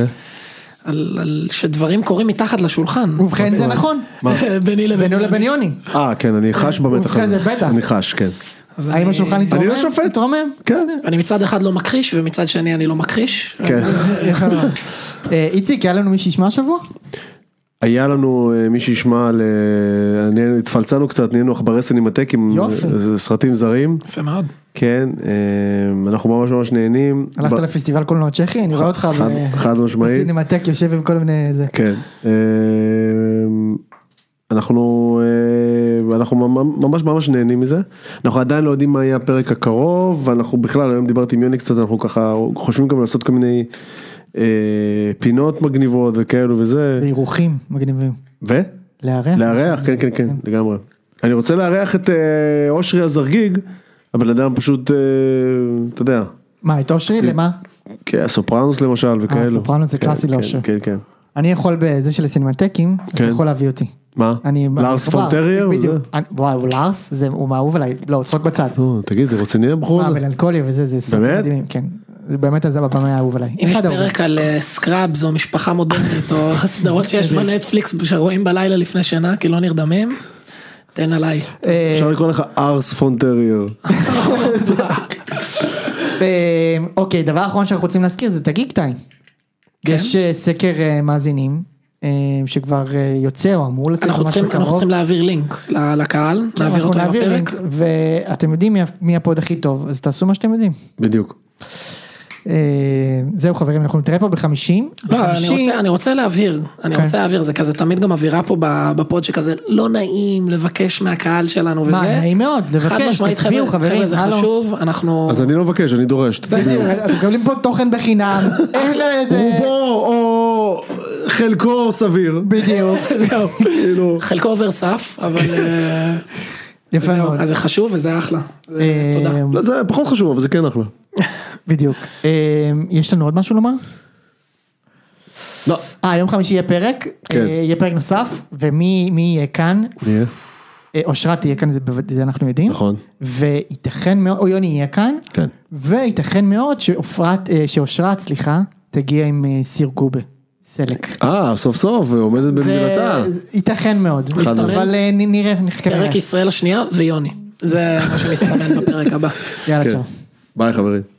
על, על שדברים קורים מתחת לשולחן.
ובכן
(laughs)
זה נכון,
(laughs) ביני לבין
בינו לבין יוני.
אה, כן, אני חש במתח
ובכן,
הזה.
זה בטח.
אני חש, כן.
אז
האם
אני-
השולחן התרומם?
אני לא שופט.
התרומם?
כן.
אני מצד אחד לא מכחיש ומצד שני אני לא מכחיש.
כן.
יפה מאוד. אה, איציק, היה לנו מי שישמע השבוע?
היה לנו אה, מי שישמע על... אה, אני- התפלצנו קצת, נהיינו עכברי סינמטק עם
יופי.
אה, זה סרטים זרים.
יפה מאוד.
כן, אה, אנחנו ממש ממש נהנים.
הלכת
ב-
לפסטיבל קולנוע צ'כי? אני רואה אותך
חד-
ב-
חד משמעית.
בסינמטק יושב עם כל מיני זה.
כן. אמ, אנחנו אה, אנחנו ממ- ממש ממש נהנים מזה אנחנו עדיין לא יודעים מה יהיה הפרק הקרוב ואנחנו בכלל היום דיברתי עם יוני קצת אנחנו ככה חושבים גם לעשות כל מיני אה, פינות מגניבות וכאלו וזה
ואירוחים מגניבים. לארח?
ולארח כן
אה,
כן כן לגמרי אני רוצה לארח את אה, אושרי הזרגיג הבן אדם פשוט אה, אתה יודע
מה, את אושרי? למה?
כן, הסופרנוס למשל וכאלו
הסופרנוס זה
כן,
קלאסי
כן,
לאושר.
כן כן
אני יכול בזה של הסינמטקים, אתה
כן.
יכול להביא אותי.
מה
אני...
לארס
אני מחובר,
פונטרייר
בדיוק. אני- וואי, הוא לארס? זה- הוא מאהוב עליי. לא, צחוק בצד.
נו, תגיד, זה רציני הבחור
מה,
הזה?
מלנכולי וזה, זה סרטים
באמת?
מדהימים, כן. זה באמת הזב הפעמי האהוב עליי.
אם יש
אחד האהובים.
פרק על אה, סקראבס או משפחה מודרנית או (laughs) סדרות שיש בנטפליקס שרואים בלילה לפני שינה כי לא נרדמים, תן עליי.
אה,
אפשר לקרוא לך ארס פונטרייר.
(laughs) אה, אוקיי, דבר אחרון שאנחנו רוצים להזכיר זה את הגיק טיים.
כן.
יש אה, סקר אה, מאזינים אה, שכבר אה, יוצא או אמור לצאת
אנחנו
ממש
צריכים אנחנו
בקרוב. כן,
צריכים להעביר לינק ל- לקהל,
אנחנו
להעביר אותו עם
נעביר
הפרק.
לינק, ואתם יודעים מי ה- מי הפוד הכי טוב, אז תעשו מה שאתם יודעים.
בדיוק.
אה, זהו חברים, אנחנו נתראה פה בחמישים.
לא, אני
בחמישי-
רוצה, אני רוצה להבהיר, אני
כן.
רוצה להבהיר, זה כזה תמיד גם אווירה פה ב- בפוד שכזה לא נעים לבקש מהקהל שלנו וזה.
מה, נעים מאוד,
חד
לבקש,
משמעית,
תצביעו
חבר'ה,
חברים,
חבר'ה, זה
הלו.
חשוב, אנחנו...
אז אני לא מבקש, אני דורש.
בדיוק, (laughs) אנחנו מקבלים פה תוכן בחינם, אין לו איזה...
רובו או חלקו סביר.
בדיוק,
(laughs) זהו.
כאילו.
חלקו עובר סף, אבל אה,
יפה
זהו,
מאוד.
אז זה חשוב וזה אחלה.
אה,
תודה.
לא, זה פחות חשוב, אבל זה כן אחלה.
בדיוק. אה, יש לנו עוד משהו לומר?
לא.
אה, יום חמישי יהיה פרק,
כן.
אה, יהיה פרק נוסף, ומי מי יהיה כאן? אה, אושרת תהיה כאן, זה בוודאי זה אנחנו יודעים.
נכון.
וייתכן מאוד, או יוני יהיה כאן,
כן.
וייתכן מאוד שאופרת, אה, שאושרת, סליחה, תגיע עם אה, סיר קובה, סלק.
אה, סוף סוף, עומדת במילתה.
זה- זה- ייתכן מאוד,
מסתמן.
אבל אה, נ- נראה, נחכה.
פרק ישראל השנייה ויוני. זה מה שמסתמן בפרק הבא.
יאללה,
כן.
צ'או.
ביי חברים.